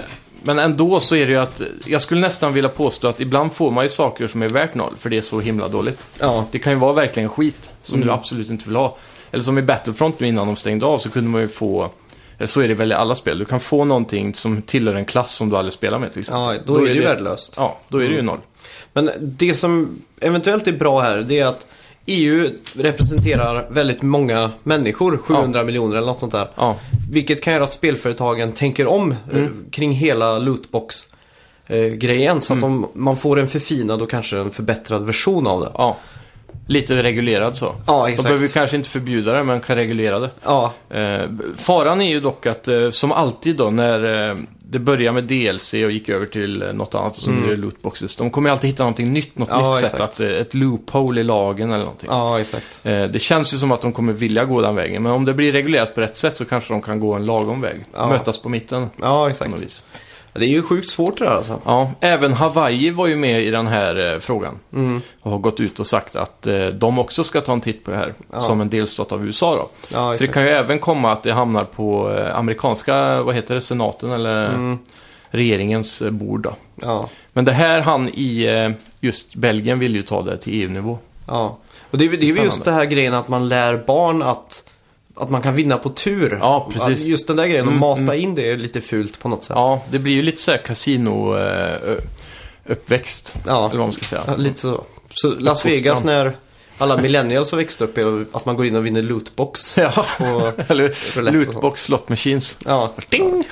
Speaker 2: men ändå så är det ju att, jag skulle nästan vilja påstå att ibland får man ju saker som är värt noll, för det är så himla dåligt.
Speaker 1: Ja,
Speaker 2: Det kan ju vara verkligen skit som
Speaker 1: Mm.
Speaker 2: du absolut inte vill ha. Eller som i Battlefront nu innan de stängde av så kunde man ju få, eller så är det väl i alla spel, du kan få någonting som tillhör en klass som du aldrig spelar med till exempel.
Speaker 1: ja då, är det ju värdelöst. Mm.
Speaker 2: Ja, då är det ju noll.
Speaker 1: Men det som eventuellt är bra här, det är att EU representerar väldigt många människor, 700 miljoner eller något sånt där.
Speaker 2: Ja.
Speaker 1: Vilket kan göra att spelföretagen tänker om
Speaker 2: Mm.
Speaker 1: eh, kring hela lootbox-grejen. Så
Speaker 2: Mm.
Speaker 1: att de, man får en förfinad och kanske en förbättrad version av det.
Speaker 2: Ja, lite reglerad så.
Speaker 1: Ja,
Speaker 2: De
Speaker 1: exakt.
Speaker 2: behöver ju kanske inte förbjuda det, men kan reglera det.
Speaker 1: Ja,
Speaker 2: Eh, faran är ju dock att, eh, som alltid då, när eh, det börjar med DLC och gick över till eh, något annat, som mm. lootboxes, de kommer ju alltid hitta någonting nytt, något
Speaker 1: Ja,
Speaker 2: nytt sätt,
Speaker 1: exakt.
Speaker 2: att, eh, ett loophole i lagen eller någonting.
Speaker 1: ja exakt.
Speaker 2: Eh, det känns ju som att de kommer vilja gå den vägen, men om det blir reglerat på rätt sätt så kanske de kan gå en lagom väg.
Speaker 1: Ja.
Speaker 2: Mötas på mitten.
Speaker 1: Ja,
Speaker 2: på
Speaker 1: exakt.
Speaker 2: något vis.
Speaker 1: Det är ju sjukt svårt det där alltså.
Speaker 2: Ja, även Hawaii var ju med i den här eh, frågan.
Speaker 1: Mm.
Speaker 2: Och har gått ut och sagt att eh, de också ska ta en titt på det här.
Speaker 1: Ja.
Speaker 2: Som en delstat av USA då.
Speaker 1: Ja,
Speaker 2: Så det
Speaker 1: exakt.
Speaker 2: kan ju även komma att det hamnar på eh, amerikanska, vad heter det, senaten eller
Speaker 1: Mm.
Speaker 2: regeringens eh, bord då.
Speaker 1: Ja,
Speaker 2: Men det här han i eh, just Belgien vill ju ta det till EU-nivå.
Speaker 1: ja. Och det är, det är ju
Speaker 2: Spännande.
Speaker 1: just det här grejen att man lär barn att att man kan vinna på tur.
Speaker 2: Ja, precis. Mm,
Speaker 1: Just den där grejen, att mata in det är lite fult på något sätt.
Speaker 2: Ja, det blir ju lite så här kasino... eh, ö- Uppväxt,
Speaker 1: Ja.
Speaker 2: eller vad man ska säga.
Speaker 1: Ja, lite så. Så Las Vegas när alla millennials har växt upp är att man går in och vinner lootbox.
Speaker 2: Ja,
Speaker 1: Och,
Speaker 2: eller
Speaker 1: roulette och
Speaker 2: lootbox slot machines.
Speaker 1: ja.
Speaker 2: Ding!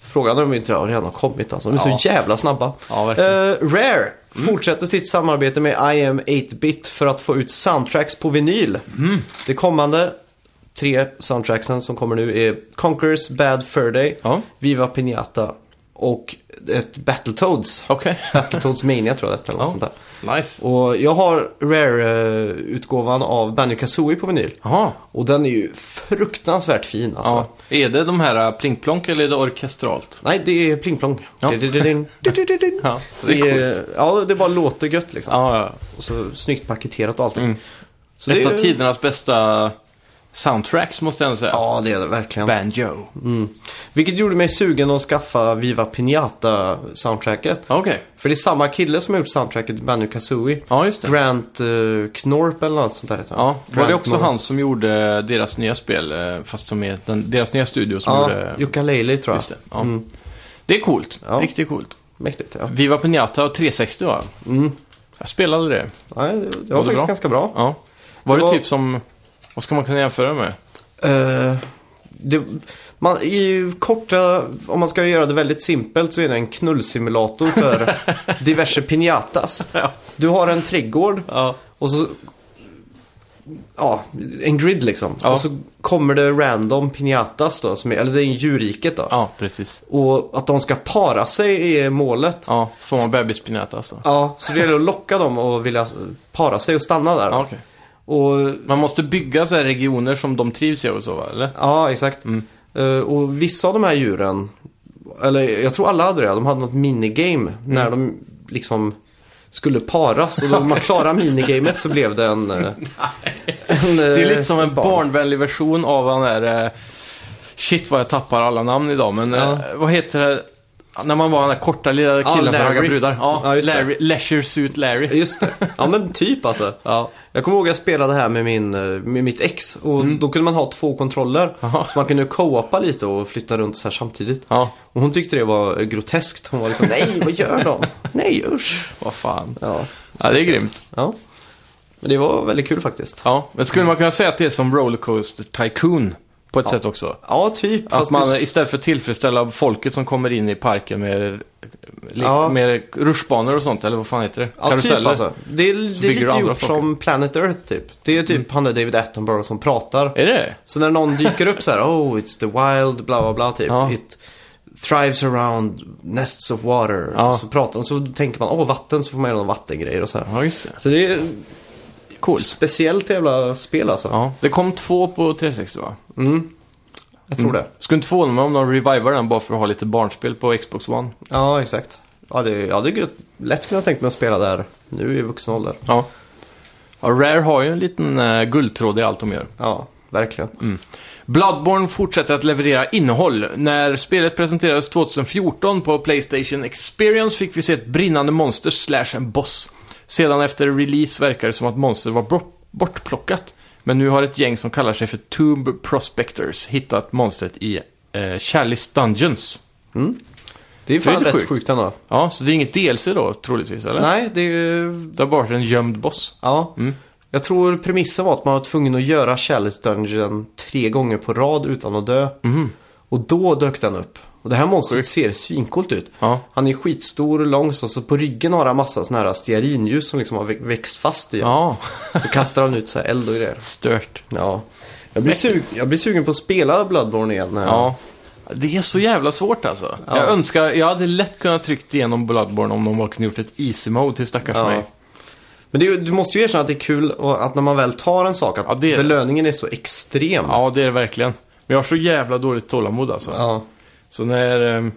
Speaker 1: Frågan är om inte det har redan kommit alltså. De är
Speaker 2: Ja.
Speaker 1: så jävla snabba.
Speaker 2: Ja, verkligen. Mm.
Speaker 1: Eh, Rare fortsätter sitt samarbete med I am 8-bit för att få ut soundtracks på vinyl.
Speaker 2: Mm.
Speaker 1: Det kommande tre soundtracksen som kommer nu är Conquerors Bad Fur Day,
Speaker 2: Ja,
Speaker 1: Viva Piñata och ett Battletoads.
Speaker 2: okej.
Speaker 1: Battletoads Mania tror jag det är, eller något
Speaker 2: Ja.
Speaker 1: sånt där.
Speaker 2: Nice.
Speaker 1: Och jag har Rare-utgåvan av Banjo Kazooie på vinyl.
Speaker 2: Jaha.
Speaker 1: Och den är ju fruktansvärt fin alltså.
Speaker 2: Ja. Är det de här äh, plinkplonk eller är det orkestralt?
Speaker 1: Nej, det är plingplong.
Speaker 2: Ja.
Speaker 1: Ja.
Speaker 2: Ja, det är coolt.
Speaker 1: Ja, det bara låter gött liksom.
Speaker 2: Ja, ja.
Speaker 1: Och så snyggt paketerat och allting.
Speaker 2: Mm.
Speaker 1: Så
Speaker 2: Ett
Speaker 1: det
Speaker 2: av
Speaker 1: är-
Speaker 2: tidernas bästa soundtracks måste jag ändå säga.
Speaker 1: Ja, Mm. det är det verkligen.
Speaker 2: Banjo.
Speaker 1: Vilket gjorde mig sugen att skaffa Viva Piñata soundtracket.
Speaker 2: Ja, Okej.
Speaker 1: För det är samma kille som har gjort soundtracket till Banjo Kazooie.
Speaker 2: Ja, just det.
Speaker 1: Grant eh, Knorp eller något sånt där heter han.
Speaker 2: Ja, var
Speaker 1: Grant
Speaker 2: det också
Speaker 1: Knorp.
Speaker 2: han som gjorde deras nya spel, eh, fast som är den, deras nya studio som
Speaker 1: Ja,
Speaker 2: gjorde...
Speaker 1: Jukka Leili tror jag.
Speaker 2: Just det. Ja. Det är coolt.
Speaker 1: Ja.
Speaker 2: Riktigt coolt.
Speaker 1: Mäktigt, ja.
Speaker 2: Viva Pinata 360 va?
Speaker 1: Mm.
Speaker 2: Jag spelade det.
Speaker 1: Nej, det, det var,
Speaker 2: Var
Speaker 1: faktiskt
Speaker 2: det bra?
Speaker 1: ganska bra.
Speaker 2: Ja. Var det
Speaker 1: Det var-
Speaker 2: typ som... Vad ska man kunna jämföra med?
Speaker 1: Eh, det, man, I korta, om man ska göra det väldigt simpelt så är det en knullsimulator för diverse piñatas.
Speaker 2: Ja.
Speaker 1: Du har en trädgård
Speaker 2: Ja.
Speaker 1: och så... Ja, en grid liksom.
Speaker 2: Ja.
Speaker 1: Och så kommer det random piñatas då, som är, eller det är djurriket då.
Speaker 2: Ja, precis.
Speaker 1: Och att de ska para sig är målet.
Speaker 2: Ja, så får man bebispinata alltså.
Speaker 1: Ja, så det gäller att locka dem och vilja para sig och stanna där.
Speaker 2: Ja, okej.
Speaker 1: Och
Speaker 2: Man måste bygga så här regioner som de trivs i och så va? Eller?
Speaker 1: Ja, exakt.
Speaker 2: Mm.
Speaker 1: Eh, och vissa av de här djuren, eller jag tror alla hade det, de hade något minigame när
Speaker 2: Mm.
Speaker 1: de liksom skulle paras. Och då man klarade minigamet så blev det en... eh, en eh,
Speaker 2: Det är lite som en barnvänlig version av den där... eh, Shit vad jag tappar alla namn idag, men
Speaker 1: Ja.
Speaker 2: eh, vad heter det? När man var den där korta lilla
Speaker 1: Ja,
Speaker 2: killen som
Speaker 1: Larry.
Speaker 2: raggade brudar. Ja,
Speaker 1: Ja, just det.
Speaker 2: Larry. Leisure Suit Larry.
Speaker 1: Just det. Ja, men typ alltså.
Speaker 2: Ja.
Speaker 1: Jag kommer ihåg jag spelade här med, min, eh, med mitt ex och
Speaker 2: Mm.
Speaker 1: då kunde man ha två kontroller.
Speaker 2: Aha.
Speaker 1: Så man kunde co-opa lite och flytta runt så här samtidigt.
Speaker 2: ja,
Speaker 1: Och hon tyckte det var eh, groteskt. Hon var liksom, nej vad gör de? Nej usch.
Speaker 2: vad fan.
Speaker 1: Ja,
Speaker 2: Ja, det är grymt.
Speaker 1: Ja. Men det var väldigt kul faktiskt.
Speaker 2: Ja, men skulle man kunna säga att det är som Rollercoaster Tycoon på ett sätt också?
Speaker 1: Ja, typ.
Speaker 2: Att
Speaker 1: Fast
Speaker 2: man
Speaker 1: just-
Speaker 2: istället för att tillfredsställa folket som kommer in i parken med, eh,
Speaker 1: Ja.
Speaker 2: med rutschbanor och sånt, eller vad fan heter det?
Speaker 1: ja, typ alltså. Det är, det är
Speaker 2: bygger du
Speaker 1: lite
Speaker 2: andra
Speaker 1: gjort
Speaker 2: saker. Mm.
Speaker 1: som Planet Earth typ. Det är typ han där David Attenborough som pratar.
Speaker 2: Är det
Speaker 1: Så när någon dyker upp så här, oh it's the wild, bla bla bla typ.
Speaker 2: Ja.
Speaker 1: It thrives around nests of water.
Speaker 2: Ja.
Speaker 1: Så pratar de, så tänker man, åh vatten, så får man göra några vattengrejer och så här.
Speaker 2: Ja, just det.
Speaker 1: Så det är
Speaker 2: Coolt.
Speaker 1: speciellt jävla spel alltså.
Speaker 2: Ja, det kom två på 360 va? Mm.
Speaker 1: Jag tror det.
Speaker 2: Skulle inte förvåna mig om de revivar den bara för att ha lite barnspel på Xbox One.
Speaker 1: Ja, exakt. Ja, det, jag hade gött- lätt kunnat tänka mig att spela där nu i vuxen ålder.
Speaker 2: Ja. ja Rare har ju en liten eh, guldtråd i allt de gör.
Speaker 1: Ja, verkligen.
Speaker 2: Mm. Bloodborne fortsätter att leverera innehåll. När spelet presenterades 2014 på Playstation Experience fick vi se ett brinnande monster slash en boss. Sedan efter release verkar det som att monstret var bro- bortplockat. Men nu har ett gäng som kallar sig för Tomb Prospectors hittat monstret i eh, Chalice Dungeons.
Speaker 1: Det är fan
Speaker 2: lite
Speaker 1: rätt
Speaker 2: sjukt.
Speaker 1: sjukt, ändå.
Speaker 2: Ja, så det är inget DLC då troligtvis, eller?
Speaker 1: Nej, det är ju...
Speaker 2: Det har bara varit en gömd boss.
Speaker 1: Ja.
Speaker 2: Mm.
Speaker 1: Jag tror premissen var att man var tvungen att göra Chalice Dungeon tre gånger på rad utan att dö.
Speaker 2: Mm-hmm.
Speaker 1: Och då dök den upp. Och det här monstret ser svinkult ut.
Speaker 2: Ja.
Speaker 1: Han är skitstor och lång så, så på ryggen har han massa såna här stearinljus som liksom har vä- växt fast i honom.
Speaker 2: Ja,
Speaker 1: Så kastar han ut så här eld och grejer.
Speaker 2: stört.
Speaker 1: Ja. Jag blir, sug- jag blir sugen på att spela Bloodborne igen. eh. när jag-
Speaker 2: Ja. Det är så jävla svårt alltså. Jag önskar, jag hade lätt kunnat tryckt igenom Bloodborne om de bara kunde gjort ett easy mode till stackars
Speaker 1: Ja.
Speaker 2: mig.
Speaker 1: Men det, är ju- du måste ju erkänna att det är kul och att när man väl tar en sak att
Speaker 2: Ja, det är det.
Speaker 1: belöningen är så extrem.
Speaker 2: Ja, det är det verkligen. Men jag har så jävla dåligt tålamod alltså.
Speaker 1: Ja.
Speaker 2: Så när... ehm,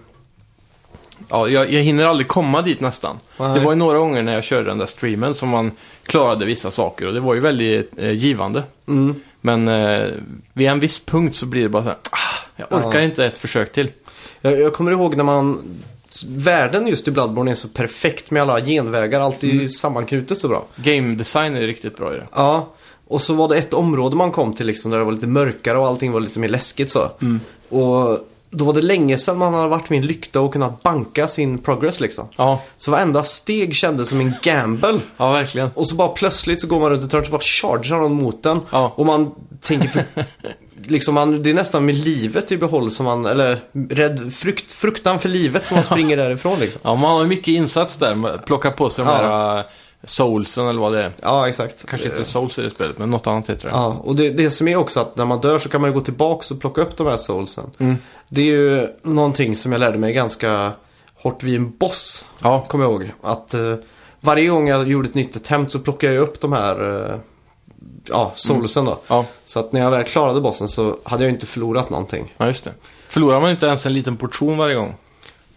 Speaker 2: Ja, jag, jag hinner aldrig komma dit nästan.
Speaker 1: Nej.
Speaker 2: Det var ju några gånger när jag körde den där streamen som man klarade vissa saker och det var ju väldigt eh, givande.
Speaker 1: Mm.
Speaker 2: Men eh, vid en viss punkt så blir det bara så här, ah, jag orkar inte ett försök till.
Speaker 1: Jag, jag kommer ihåg när man... Världen just i Bloodborne är så perfekt med alla genvägar. Allt är ju sammanknutet så bra.
Speaker 2: Game design är riktigt bra i det.
Speaker 1: Ja, Och så var det ett område man kom till liksom där det var lite mörkare och allting var lite mer läskigt så. Och då var det länge sedan man hade varit med en lykta och kunnat banka sin progress liksom.
Speaker 2: Ja,
Speaker 1: Så varenda steg kändes som en gamble.
Speaker 2: ja verkligen.
Speaker 1: Och så bara plötsligt så går man runt ett hörn så bara chargear någon mot den.
Speaker 2: Ja.
Speaker 1: Och man tänker för, liksom man, det är nästan med livet i behåll som man, eller rädd, frukt, fruktan för livet som man springer därifrån liksom.
Speaker 2: Ja, man har ju mycket insats där. Man Plockar på sig de
Speaker 1: Ja.
Speaker 2: här eh, soulsen eller vad det är.
Speaker 1: Ja, exakt.
Speaker 2: Kanske inte souls i det spelet, men något annat heter det.
Speaker 1: Ja, och det, det som är också att när man dör så kan man ju gå tillbaka och plocka upp de här soulsen.
Speaker 2: Mm.
Speaker 1: Det är ju någonting som jag lärde mig ganska hårt vid en boss,
Speaker 2: Ja,
Speaker 1: kommer jag ihåg. Att eh, varje gång jag gjorde ett nytt attempt så plockade jag upp de här eh, ja, soulsen då.
Speaker 2: ja,
Speaker 1: Så att när jag väl klarade bossen så hade jag inte förlorat någonting.
Speaker 2: ja just det. Förlorar man inte ens en liten portion varje gång?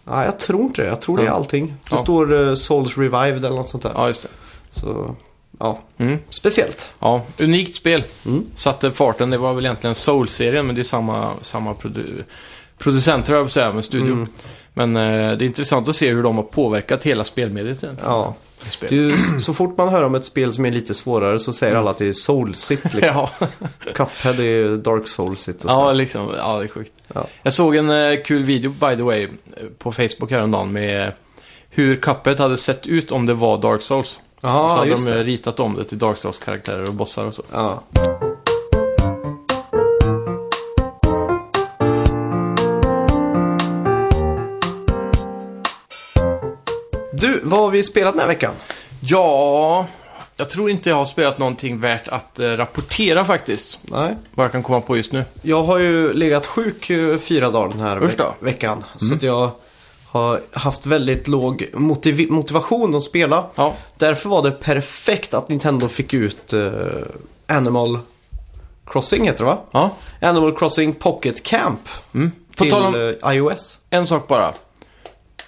Speaker 1: Nej, jag tror inte det. Jag tror det är
Speaker 2: Ja.
Speaker 1: allting. Det
Speaker 2: Ja.
Speaker 1: står eh, Souls Revived eller något sånt där.
Speaker 2: Ja, just det.
Speaker 1: Så, ja.
Speaker 2: Mm.
Speaker 1: Speciellt.
Speaker 2: Ja, unikt spel.
Speaker 1: Mm.
Speaker 2: Satte farten. Det var väl egentligen Soul-serien, men det är samma, samma produ- producenter, höll jag på att säga, men studio.
Speaker 1: Mm.
Speaker 2: Men eh, det är intressant att se hur de har påverkat hela spelmediet. egentligen.
Speaker 1: Ja.
Speaker 2: Spel.
Speaker 1: Det är ju, s- så fort man hör om ett spel som är lite svårare så säger alla att det är Soulsit. Liksom.
Speaker 2: Ja,
Speaker 1: Cuphead är Dark Soulsit och
Speaker 2: ja,
Speaker 1: sådär.
Speaker 2: liksom, ja, det är sjukt.
Speaker 1: Ja.
Speaker 2: Jag såg en eh, kul video, by the way, eh, på Facebook häromdagen med eh, hur Cuphead hade sett ut om det var Dark Souls. Och så
Speaker 1: Ja,
Speaker 2: hade
Speaker 1: just
Speaker 2: de eh,
Speaker 1: det.
Speaker 2: ritat om det till Dark Souls-karaktärer och bossar och så.
Speaker 1: Ja. Du, vad har vi spelat den här veckan?
Speaker 2: Ja, jag tror inte jag har spelat någonting värt att eh, rapportera faktiskt.
Speaker 1: Nej.
Speaker 2: Vad jag kan komma på just nu.
Speaker 1: Jag har ju legat sjuk eh, fyra dagar den här
Speaker 2: Usch då. Mm.
Speaker 1: ve- veckan. Så att jag har haft väldigt låg motiv- motivation att spela.
Speaker 2: Ja,
Speaker 1: Därför var det perfekt att Nintendo fick ut eh, Animal Crossing heter det va?
Speaker 2: ja.
Speaker 1: Animal Crossing Pocket Camp
Speaker 2: Mm. På
Speaker 1: till
Speaker 2: tal om
Speaker 1: eh, iOS.
Speaker 2: en sak bara.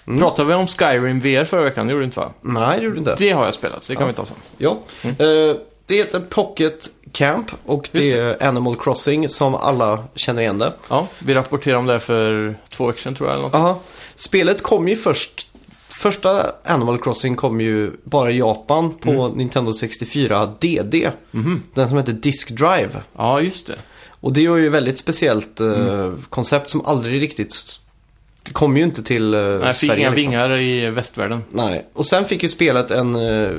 Speaker 1: Mm.
Speaker 2: Pratade vi om Skyrim VR förra veckan? Det gjorde vi inte va?
Speaker 1: Nej, det gjorde det inte.
Speaker 2: Det Mm. har jag spelat, så det kan vi ta sen.
Speaker 1: Ja. Eh, det heter Pocket Camp och det,
Speaker 2: Just
Speaker 1: är Animal Crossing som alla känner igen det.
Speaker 2: Ja, vi rapporterade om det här för två veckor sedan tror jag. Eller något.
Speaker 1: Aha. Spelet kom ju först. Första Animal Crossing kom ju bara i Japan på
Speaker 2: Mm.
Speaker 1: Nintendo 64 DD.
Speaker 2: Mhm.
Speaker 1: Den som heter Disk Drive.
Speaker 2: Ja, just det.
Speaker 1: Och det var ju ett väldigt speciellt eh,
Speaker 2: Mm.
Speaker 1: koncept som aldrig riktigt... s- Det kom ju inte till eh,
Speaker 2: Nej, fick
Speaker 1: Sverige.
Speaker 2: inga
Speaker 1: liksom.
Speaker 2: vingar i västvärlden.
Speaker 1: Nej, och sen fick ju spelet en, eh,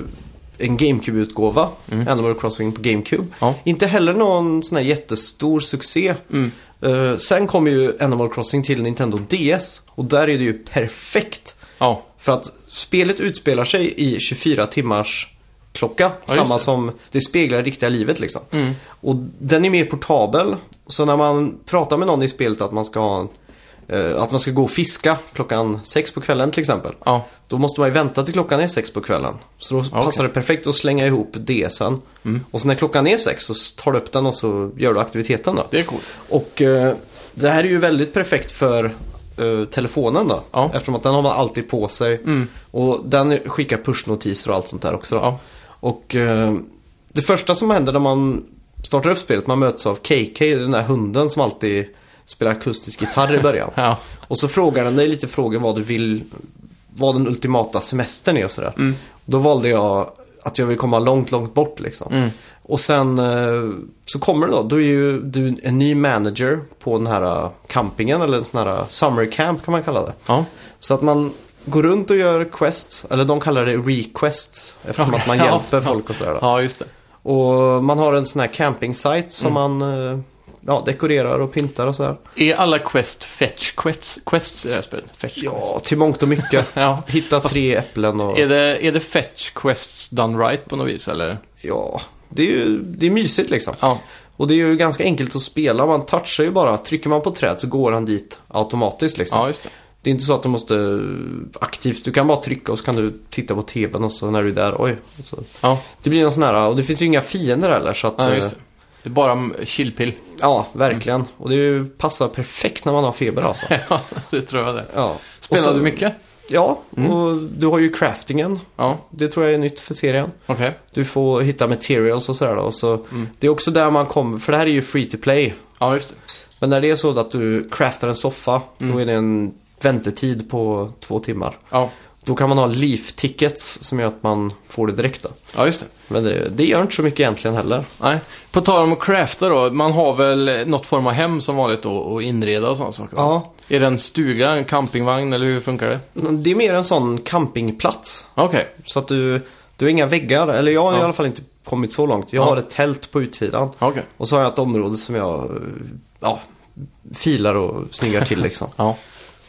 Speaker 1: en GameCube-utgåva. Animal Crossing på GameCube.
Speaker 2: Mm. Ja. Mm.
Speaker 1: Inte heller någon sån här jättestor succé. Eh, sen kom ju Animal Crossing till Nintendo DS. Och där är det ju perfekt.
Speaker 2: Ja,
Speaker 1: För att spelet utspelar sig i 24 timmars klocka.
Speaker 2: Ja, just
Speaker 1: samma
Speaker 2: det. Mm.
Speaker 1: som det speglar riktiga livet liksom. Och den är mer portabel. Så när man pratar med någon i spelet att man ska ha en, eh, att man ska gå och fiska klockan sex på kvällen till exempel.
Speaker 2: ja.
Speaker 1: Då måste man ju vänta till klockan är sex på kvällen. Så då
Speaker 2: okej. Mm.
Speaker 1: passar det perfekt att slänga ihop DSen. Och så när klockan är sex så tar du upp den och så gör du aktiviteten då.
Speaker 2: Det är coolt.
Speaker 1: Och eh, det här är ju väldigt perfekt för eh, telefonen då.
Speaker 2: Ja. Mm.
Speaker 1: Eftersom att den har man alltid på sig. Och den skickar pushnotiser och allt sånt där också då.
Speaker 2: Ja.
Speaker 1: Och eh, det första som händer när man startar upp spelet, man möts av KK, den där hunden som alltid spelar akustisk gitarr i början.
Speaker 2: Ja,
Speaker 1: Och så frågar den dig lite frågor vad du vill, vad den ultimata semestern är och sådär. Då valde jag att jag vill komma långt, långt bort liksom. Och sen eh, så kommer det då, då är ju du en ny manager på den här eh, campingen eller en sån här eh, summer camp kan man kalla det.
Speaker 2: ja.
Speaker 1: Så att man går runt och gör quests, eller de kallar det requests eftersom att man
Speaker 2: Ja.
Speaker 1: hjälper folk och sådär. Då.
Speaker 2: ja just det.
Speaker 1: Och man har en sån här campingsite som man eh, ja, dekorerar och pyntar och sådär.
Speaker 2: Är alla quest fetch quests, quests i det här spelet? Fetch quests.
Speaker 1: Ja, till mångt och mycket.
Speaker 2: Ja.
Speaker 1: Hitta tre äpplen och...
Speaker 2: Är det, är det fetch quests done right på något vis eller?
Speaker 1: Ja, det är ju det är mysigt liksom.
Speaker 2: Ja,
Speaker 1: Och det är ju ganska enkelt att spela. Man touchar ju bara. Trycker man på träd så går han dit automatiskt liksom.
Speaker 2: ja just det.
Speaker 1: Det är inte så att du måste eh, aktivt. Du kan bara trycka och så kan du titta på tvn och så när du är där. Oj. och Så.
Speaker 2: Ja,
Speaker 1: Det blir en sån här. Och det finns ju inga fiender heller. Så att,
Speaker 2: ja just
Speaker 1: eh,
Speaker 2: det. Det är bara mm, chillpill.
Speaker 1: ja verkligen. Och det är ju- passar perfekt när man har feber alltså.
Speaker 2: Ja, det tror jag det.
Speaker 1: Ja. Och
Speaker 2: Spelar
Speaker 1: så-
Speaker 2: du mycket? Mm.
Speaker 1: Ja, och du har ju craftingen.
Speaker 2: Ja,
Speaker 1: Det tror jag är nytt för serien.
Speaker 2: okej.
Speaker 1: Du får hitta materials och sådär då. Och så,
Speaker 2: Mm.
Speaker 1: Det är också där man kommer, för det här är ju free to play.
Speaker 2: Ja, just det.
Speaker 1: Men när det är
Speaker 2: Mm.
Speaker 1: så att du craftar en soffa, då är det en väntetid på två timmar.
Speaker 2: Ja,
Speaker 1: Då kan man ha leaf tickets som gör att man får det direkt. Då.
Speaker 2: Ja, just det.
Speaker 1: Men det, det gör inte så mycket egentligen heller.
Speaker 2: Nej. På tal om att crafta då, man har väl något form av hem som vanligt då och inreda och sådana saker? va?
Speaker 1: Ja,
Speaker 2: Är det en stuga, en campingvagn eller hur funkar det?
Speaker 1: det är mer en sån campingplats.
Speaker 2: Okej,
Speaker 1: Så att du, du har inga väggar, eller jag har
Speaker 2: Ja.
Speaker 1: i alla fall inte kommit så långt. Jag
Speaker 2: Ja.
Speaker 1: har ett tält på utsidan.
Speaker 2: okej.
Speaker 1: Och så har jag ett område som jag eh, ja, filar och snyggar till liksom.
Speaker 2: Ja.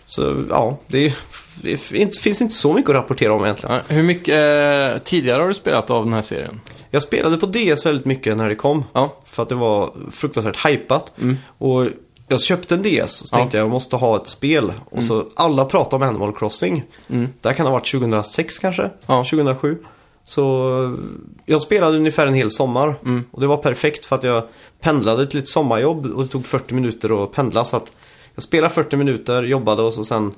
Speaker 1: Så ja, det, är, det är inte, finns inte så mycket att rapportera om egentligen.
Speaker 2: Ja, Hur mycket eh, tidigare har du spelat av den här serien?
Speaker 1: Jag spelade på DS väldigt mycket när det kom.
Speaker 2: Ja,
Speaker 1: För att det var fruktansvärt hypat. Och jag köpte en DS och så
Speaker 2: Mm. Ja.
Speaker 1: tänkte jag jag måste ha ett spel. Och så alla pratar om Animal Crossing.
Speaker 2: Mm.
Speaker 1: Det här kan ha varit 2006 kanske,
Speaker 2: Ja.
Speaker 1: 2007. Så eh, jag spelade ungefär en hel sommar.
Speaker 2: Mm.
Speaker 1: Och det var perfekt för att jag pendlade till ett sommarjobb och det tog 40 minuter att pendla. Så att jag spelade 40 minuter, jobbade och så sen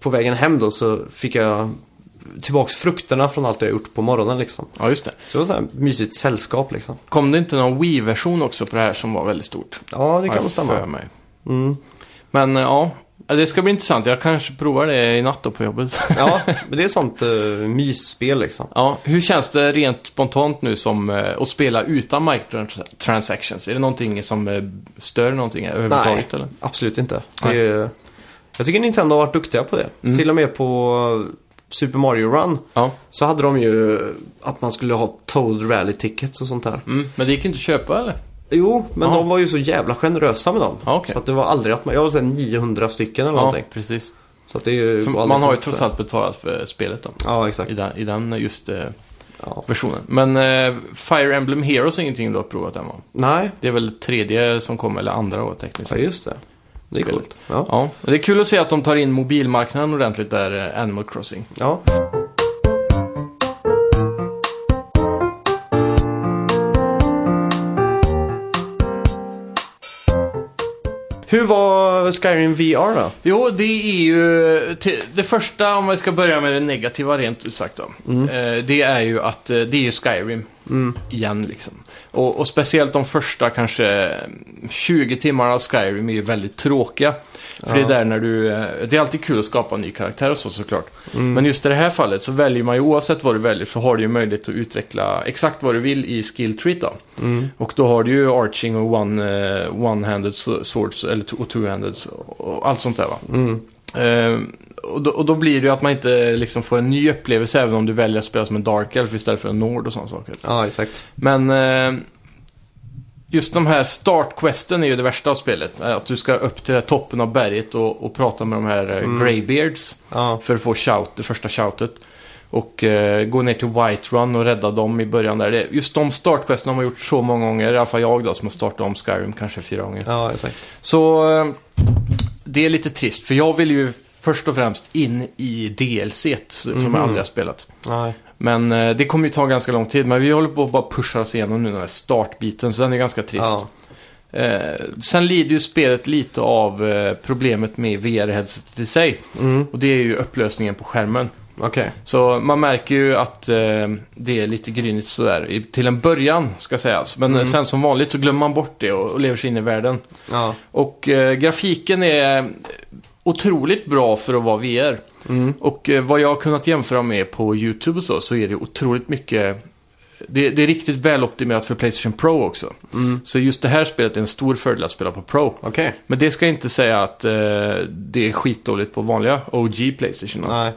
Speaker 1: på vägen hem då så fick jag tillbaks frukterna från allt jag gjort på morgonen liksom.
Speaker 2: ja just det.
Speaker 1: Så det var så här mysigt sällskap liksom.
Speaker 2: Kom det inte någon Wii-version också på det här som var väldigt stort?
Speaker 1: Ja, det
Speaker 2: Har
Speaker 1: kan
Speaker 2: jag
Speaker 1: väl stämma.
Speaker 2: för mig.
Speaker 1: Mm.
Speaker 2: Men eh, ja, det ska bli intressant. Jag kanske provar det i natt då på jobbet.
Speaker 1: Ja, men det är sånt
Speaker 2: eh,
Speaker 1: uh, mysspel liksom.
Speaker 2: ja, hur känns det rent spontant nu som eh, att spela utan microtransactions? Är det någonting som eh, stör någonting överhuvudtaget? Eller?
Speaker 1: Absolut inte. Det är, jag tycker Nintendo har varit duktiga på det.
Speaker 2: Mm.
Speaker 1: Till och med på eh, Super Mario Run
Speaker 2: Ja,
Speaker 1: så hade de ju att man skulle ha Toad Rally Tickets och sånt där.
Speaker 2: mm. men det gick inte att köpa eller?
Speaker 1: Jo, men
Speaker 2: Ja.
Speaker 1: de var ju så jävla generösa med dem.
Speaker 2: Ja, okej.
Speaker 1: Så att det var aldrig att man, jag har sett 900 stycken eller
Speaker 2: Ja,
Speaker 1: någonting.
Speaker 2: precis.
Speaker 1: Så att det är ju
Speaker 2: För
Speaker 1: går aldrig
Speaker 2: Man har ju
Speaker 1: till-
Speaker 2: trots allt betalat för spelet då.
Speaker 1: Ja,
Speaker 2: I
Speaker 1: exakt.
Speaker 2: den, i den just eh,
Speaker 1: Ja.
Speaker 2: versionen. Men eh, Fire Emblem Heroes är ingenting du har provat än va?
Speaker 1: Nej,
Speaker 2: Det är väl tredje som kom, eller andra då tekniskt
Speaker 1: ja
Speaker 2: sett.
Speaker 1: just det. Det är
Speaker 2: Spelet.
Speaker 1: coolt. Ja.
Speaker 2: Ja, och det är kul att se att de tar in mobilmarknaden ordentligt där, eh, Animal Crossing.
Speaker 1: ja. Hur var Skyrim VR då?
Speaker 2: Jo, det är ju... te- Det första, om vi ska börja med det negativa rent ut sagt då. eh, Det är ju att eh, det är ju Skyrim. Igen liksom. Och, och speciellt de första kanske eh, 20 timmarna av Skyrim är ju väldigt tråkiga. För det är där när du... eh, Det är alltid kul att skapa en ny karaktär och så såklart. Men just i det här fallet så väljer man ju oavsett vad du väljer så har du ju möjlighet att utveckla exakt vad du vill i skill treat då. Och då har du ju arching och one, eh, one-handed s- swords eller t- och two-handed och allt sånt där va. Ehm, och, då, och då blir det ju att man inte liksom får en ny upplevelse även om du väljer att spela som en Dark Elf istället för en Nord och sådana saker.
Speaker 1: Ja, exakt.
Speaker 2: Men eh, just de här startquesten är ju det värsta av spelet. Eh, Att du ska upp till toppen av berget och, och prata med de här eh, Greybeards
Speaker 1: Ja,
Speaker 2: för att få shout, det första shoutet. Och eh, gå ner till Whiterun och rädda dem i början där. Det, just de startquesten har man gjort så många gånger, i alla fall jag då som har startat om Skyrim kanske fyra gånger.
Speaker 1: ja exakt.
Speaker 2: Så eh, det är lite trist, för jag vill ju först och främst in i DLC som jag aldrig har spelat.
Speaker 1: Nej.
Speaker 2: Men eh, det kommer ju ta ganska lång tid, men vi håller på att bara pusha oss igenom nu den här startbiten, så den är ganska trist.
Speaker 1: Ja.
Speaker 2: Eh, sen lider ju spelet lite av eh, problemet med VR-headsetet i sig,
Speaker 1: Mm.
Speaker 2: och det är ju upplösningen på skärmen.
Speaker 1: Okej.
Speaker 2: Så man märker ju att eh, det är lite grynigt sådär, i, till en början ska sägas. Men eh,
Speaker 1: Mm.
Speaker 2: sen som vanligt så glömmer man bort det och, och lever sig in i världen.
Speaker 1: Ja.
Speaker 2: Och eh, grafiken är otroligt bra för att vara VR.
Speaker 1: Mm.
Speaker 2: Och eh, vad jag har kunnat jämföra med på YouTube och så, så är det otroligt mycket... Det, det är riktigt väloptimerat för Playstation Pro också.
Speaker 1: Mm.
Speaker 2: Så just det här spelet är en stor fördel att spela på Pro.
Speaker 1: Okej.
Speaker 2: Men det ska inte säga att eh, det är skitdåligt på vanliga OG Playstation.
Speaker 1: Nej.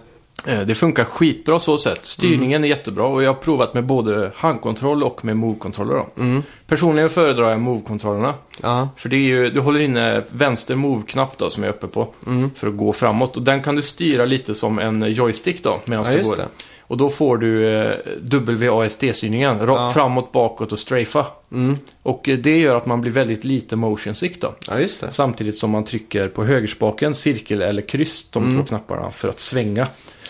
Speaker 2: Eh, Det funkar skitbra så sett. Styrningen är jättebra och jag har provat med både handkontroll och med move-kontroller. då.
Speaker 1: Mm.
Speaker 2: Personligen föredrar jag move-kontrollerna.
Speaker 1: Ja.
Speaker 2: För det är ju, du håller inne vänster move-knapp då som jag är uppe på.
Speaker 1: Mm.
Speaker 2: För att gå framåt. Och den kan du styra lite som en joystick då medan
Speaker 1: Ja,
Speaker 2: du
Speaker 1: just
Speaker 2: går.
Speaker 1: det.
Speaker 2: Och då får du eh, WASD-styrningen. ra-
Speaker 1: Ja.
Speaker 2: Framåt, bakåt och strafa.
Speaker 1: Mm.
Speaker 2: Och eh, det gör att man blir väldigt lite motion sick då.
Speaker 1: Ja, just det.
Speaker 2: Samtidigt som man trycker på högerspaken, cirkel eller kryss, de
Speaker 1: Mm.
Speaker 2: två knapparna, för att svänga.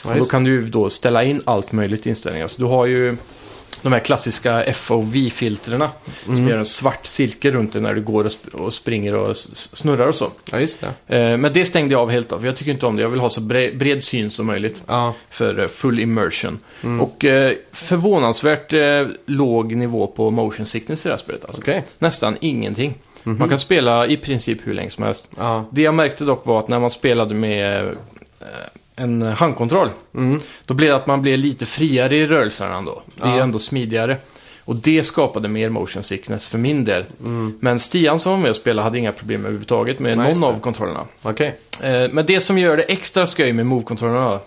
Speaker 1: Ja,
Speaker 2: och då
Speaker 1: just.
Speaker 2: kan du ju då ställa in allt möjligt inställningar. Så du har ju de här klassiska FOV-filtrerna
Speaker 1: Mm.
Speaker 2: som gör en svart cirkel runt dig när du går och, sp- och springer och s- s- snurrar och så.
Speaker 1: Ja, just det.
Speaker 2: Eh, men det stängde jag av helt av, för jag tycker inte om det. Jag vill ha så bre- bred syn som möjligt
Speaker 1: Ja.
Speaker 2: för eh, full immersion.
Speaker 1: Mm.
Speaker 2: Och eh, förvånansvärt eh, låg nivå på motion sickness i det här spelet. Alltså.
Speaker 1: Okej. Mhm.
Speaker 2: Nästan ingenting. Man kan spela i princip hur länge som helst.
Speaker 1: Ja.
Speaker 2: Det jag märkte dock var att när man spelade med eh, en handkontroll.
Speaker 1: Mm.
Speaker 2: Då blir det att man blir lite friare i rörelserna ändå. Det är
Speaker 1: Ja.
Speaker 2: ändå smidigare. Och det skapade mer motion sickness för min del. Men Stian som var med och spelade hade inga problem överhuvudtaget med
Speaker 1: Mm. Nej, just
Speaker 2: någon
Speaker 1: det.
Speaker 2: av kontrollerna.
Speaker 1: Okej.
Speaker 2: Eh, Men det som gör det extra skoj med move-kontrollerna då,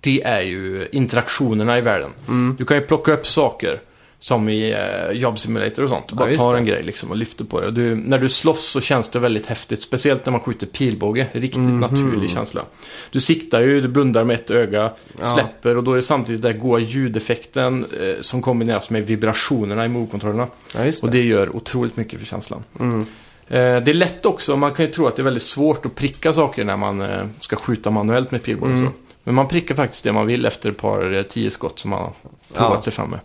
Speaker 2: det är ju interaktionerna i världen.
Speaker 1: Mm.
Speaker 2: Du kan ju plocka upp saker, som i eh, Job Simulator och sånt. Du
Speaker 1: Ja,
Speaker 2: bara
Speaker 1: just
Speaker 2: tar
Speaker 1: det.
Speaker 2: en grej liksom och lyfter på det. Och Du, när du slåss så känns det väldigt häftigt, speciellt när man skjuter pilbåge. Riktigt
Speaker 1: Mhm.
Speaker 2: naturlig känsla. Du siktar ju, du blundar med ett öga,
Speaker 1: Ja.
Speaker 2: släpper och då är det samtidigt den där goa ljudeffekten eh, som kombineras med vibrationerna i move-kontrollerna.
Speaker 1: Ja, just
Speaker 2: Och
Speaker 1: det.
Speaker 2: det gör otroligt mycket för känslan. Eh, Det är lätt också, man kan ju tro att det är väldigt svårt att pricka saker när man eh, ska skjuta manuellt med pilbåge och så. Men man prickar faktiskt det man vill efter ett par eh, tio skott som man har provat
Speaker 1: Ja.
Speaker 2: sig fram med.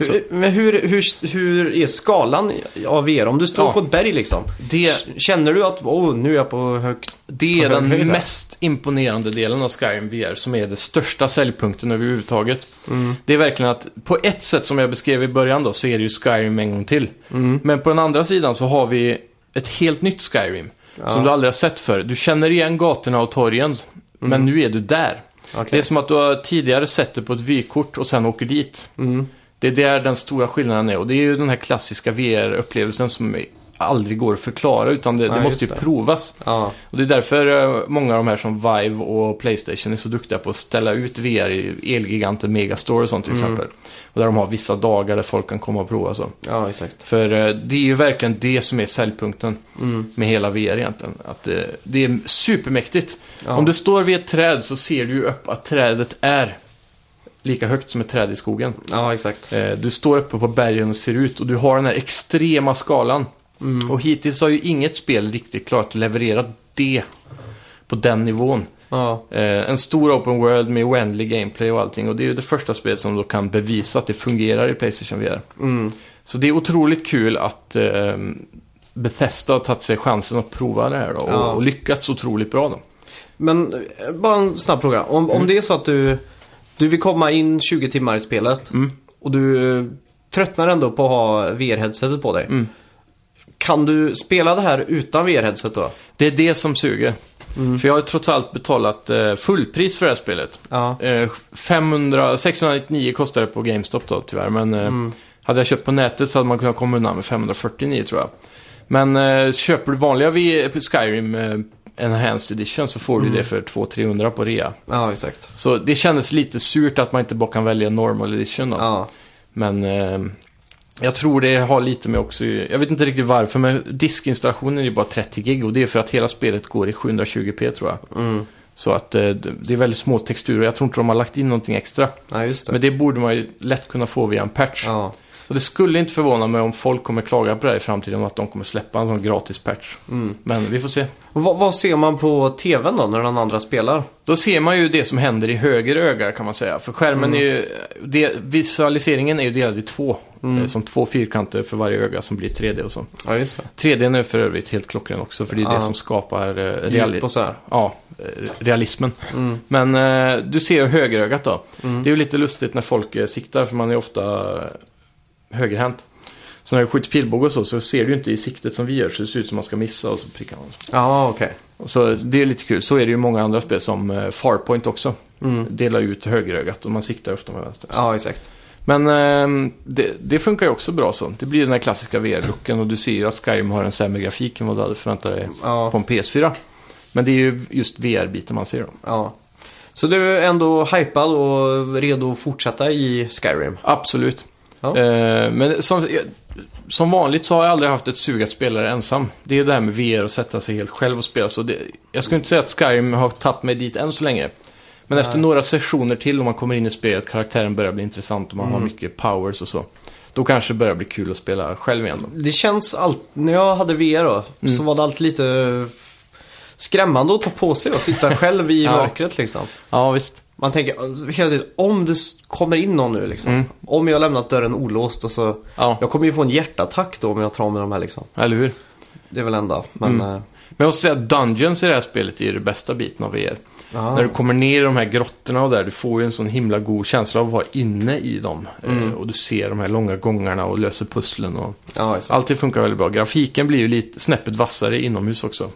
Speaker 2: Så-
Speaker 1: Hur, Eh, men hur, hur, hur är skalan av er? Om du står
Speaker 2: Ja.
Speaker 1: på ett berg liksom.
Speaker 2: Det,
Speaker 1: Känner du att oh, nu är jag på högt...
Speaker 2: det är
Speaker 1: På hög
Speaker 2: den
Speaker 1: höjd, ja.
Speaker 2: mest imponerande delen av Skyrim VR som är den största säljpunkten överhuvudtaget.
Speaker 1: Mm.
Speaker 2: Det är verkligen att, på ett sätt som jag beskrev i början då, så är det ju Skyrim en gång till.
Speaker 1: Mm.
Speaker 2: Men på den andra sidan så har vi ett helt nytt Skyrim. Som du aldrig har sett förr. Du känner igen gatorna och torgen, men nu är du där.
Speaker 1: Mm. Okej.
Speaker 2: Det är som att du har tidigare sett det på ett vykort och sen åker dit.
Speaker 1: Mm.
Speaker 2: Det är där den stora skillnaden är och det är ju den här klassiska VR-upplevelsen som aldrig går att förklara utan det,
Speaker 1: Nej,
Speaker 2: det måste ju
Speaker 1: just det.
Speaker 2: provas.
Speaker 1: Ja,
Speaker 2: Och det är därför eh, många av de här som Vive och Playstation är så duktiga på att ställa ut VR i Elgiganten, Megastore och sånt till exempel. Och där de har vissa dagar där folk kan komma och prova så.
Speaker 1: ja exakt.
Speaker 2: För eh, det är ju verkligen det som är säljpunkten med hela VR egentligen. Att det, det är supermäktigt.
Speaker 1: Ja.
Speaker 2: Om du står vid ett träd så ser du ju upp att trädet är lika högt som ett träd i skogen.
Speaker 1: Ja, exakt.
Speaker 2: Eh, Du står uppe på bergen och ser ut och du har den här extrema skalan.
Speaker 1: Mm.
Speaker 2: Och hittills har ju inget spel riktigt klart att leverera det på den nivån.
Speaker 1: Ja,
Speaker 2: Eh, en stor open world med oändlig gameplay och allting. Och det är ju det första spelet som då kan bevisa att det fungerar i Playstation VR.
Speaker 1: mm.
Speaker 2: Så det är otroligt kul att eh, Bethesda har tagit sig chansen att prova det här då, och,
Speaker 1: Ja.
Speaker 2: och lyckats otroligt bra då.
Speaker 1: Men eh, bara en snabb fråga. Om,
Speaker 2: Mm.
Speaker 1: om det är så att du, du vill komma in 20 timmar i spelet
Speaker 2: Mm.
Speaker 1: och du eh, tröttnar ändå på att ha VR-headsetet på dig.
Speaker 2: Mm.
Speaker 1: Kan du spela det här utan VR-headset då?
Speaker 2: Det är det som suger.
Speaker 1: Mm.
Speaker 2: För jag har ju trots allt betalat eh, fullpris för det här spelet.
Speaker 1: Ja.
Speaker 2: Eh, 500, 699 kostar det på GameStop då tyvärr, men eh, hade jag köpt på nätet så hade man kunnat komma undan med 549 tror jag. Men eh, köper du vanliga v- Skyrim eh, Enhanced Edition så får du det för 200-300 på rea.
Speaker 1: Ja, exakt.
Speaker 2: Så det kändes lite surt att man inte bara kan välja Normal Edition då.
Speaker 1: Ja,
Speaker 2: Men eh, jag tror det har lite med också, jag vet inte riktigt varför, men diskinstallationen är ju bara 30 gig och det är för att hela spelet går i 720p tror jag. Så att eh, det det är väldigt små texturer, jag tror inte de har lagt in någonting extra.
Speaker 1: ja just det.
Speaker 2: Men det borde man ju lätt kunna få via en patch.
Speaker 1: Ja.
Speaker 2: Och det skulle inte förvåna mig om folk kommer klaga på det här i framtiden och att de kommer släppa en sån gratis patch. Men vi får se.
Speaker 1: Och vad, vad ser man på TVn då när den andra spelar?
Speaker 2: Då ser man ju det som händer i höger öga kan man säga. För skärmen är ju... Det, visualiseringen är ju delad i två. Eh, Som två fyrkanter för varje öga som blir 3D och så.
Speaker 1: Ja, just det.
Speaker 2: 3D är för övrigt helt klockren också för det är
Speaker 1: Ja.
Speaker 2: det som skapar eh,
Speaker 1: Djup
Speaker 2: reali-
Speaker 1: och så här.
Speaker 2: ja, eh, realismen. Men eh, du ser ju högerögat då. Det är ju lite lustigt när folk eh, siktar för man är ofta eh, högerhänt. Så när du skjuter pilbåge och så, så ser du ju inte i siktet som vi gör så det ser ut som man ska missa och så prickar man.
Speaker 1: Ja, okej.
Speaker 2: Och Så det är lite kul. Så är det ju många andra spel som eh, Farpoint också. Delar ut högerögat och man siktar ofta med vänster.
Speaker 1: Ja, exakt.
Speaker 2: Men ehm, det, det funkar ju också bra så. Det blir den här klassiska VR-looken och du ser ju att Skyrim har en sämre grafik än vad du hade förväntat dig
Speaker 1: Ja.
Speaker 2: på en PS4. Men det är ju just VR-biten man ser då.
Speaker 1: Ja. Så du är ändå hypad och redo att fortsätta i Skyrim?
Speaker 2: Absolut.
Speaker 1: Ja.
Speaker 2: Eh, men som, eh, som vanligt så har jag aldrig haft ett sug att spela det ensam. Det är det här med VR och sätta sig helt själv och spela. Så det, jag skulle inte säga att Skyrim har tagit mig dit än så länge. Men efter några sessioner till, om man kommer in i spelet, karaktären börjar bli intressant och man har mycket powers och så. Då kanske det börjar bli kul att spela själv igen. Då.
Speaker 1: Det känns allt, när jag hade VR då,
Speaker 2: Mm.
Speaker 1: så var det alltid lite skrämmande att ta på sig och sitta själv i
Speaker 2: Ja.
Speaker 1: mörkret liksom.
Speaker 2: Ja, visst.
Speaker 1: Man tänker alltså, hela tiden, om det s- kommer in någon nu liksom. Om jag har lämnat dörren olåst och så,
Speaker 2: Mm. Ja,
Speaker 1: jag kommer ju få en hjärtattack då om jag tar av mig de här liksom.
Speaker 2: eller hur?
Speaker 1: Det är väl enda, men...
Speaker 2: Mm.
Speaker 1: eh,
Speaker 2: Men jag måste säga att Dungeons i det här spelet är ju den bästa biten av VR.
Speaker 1: Ja.
Speaker 2: När du kommer ner i de här grottorna och där, du får ju en sån himla god känsla av att vara inne i dem.
Speaker 1: Mm.
Speaker 2: Eh, Och du ser de här långa gångarna och löser pusslen och...
Speaker 1: Ja, exakt. Mm.
Speaker 2: Allt det funkar väldigt bra. Grafiken blir ju lite snäppet vassare inomhus också.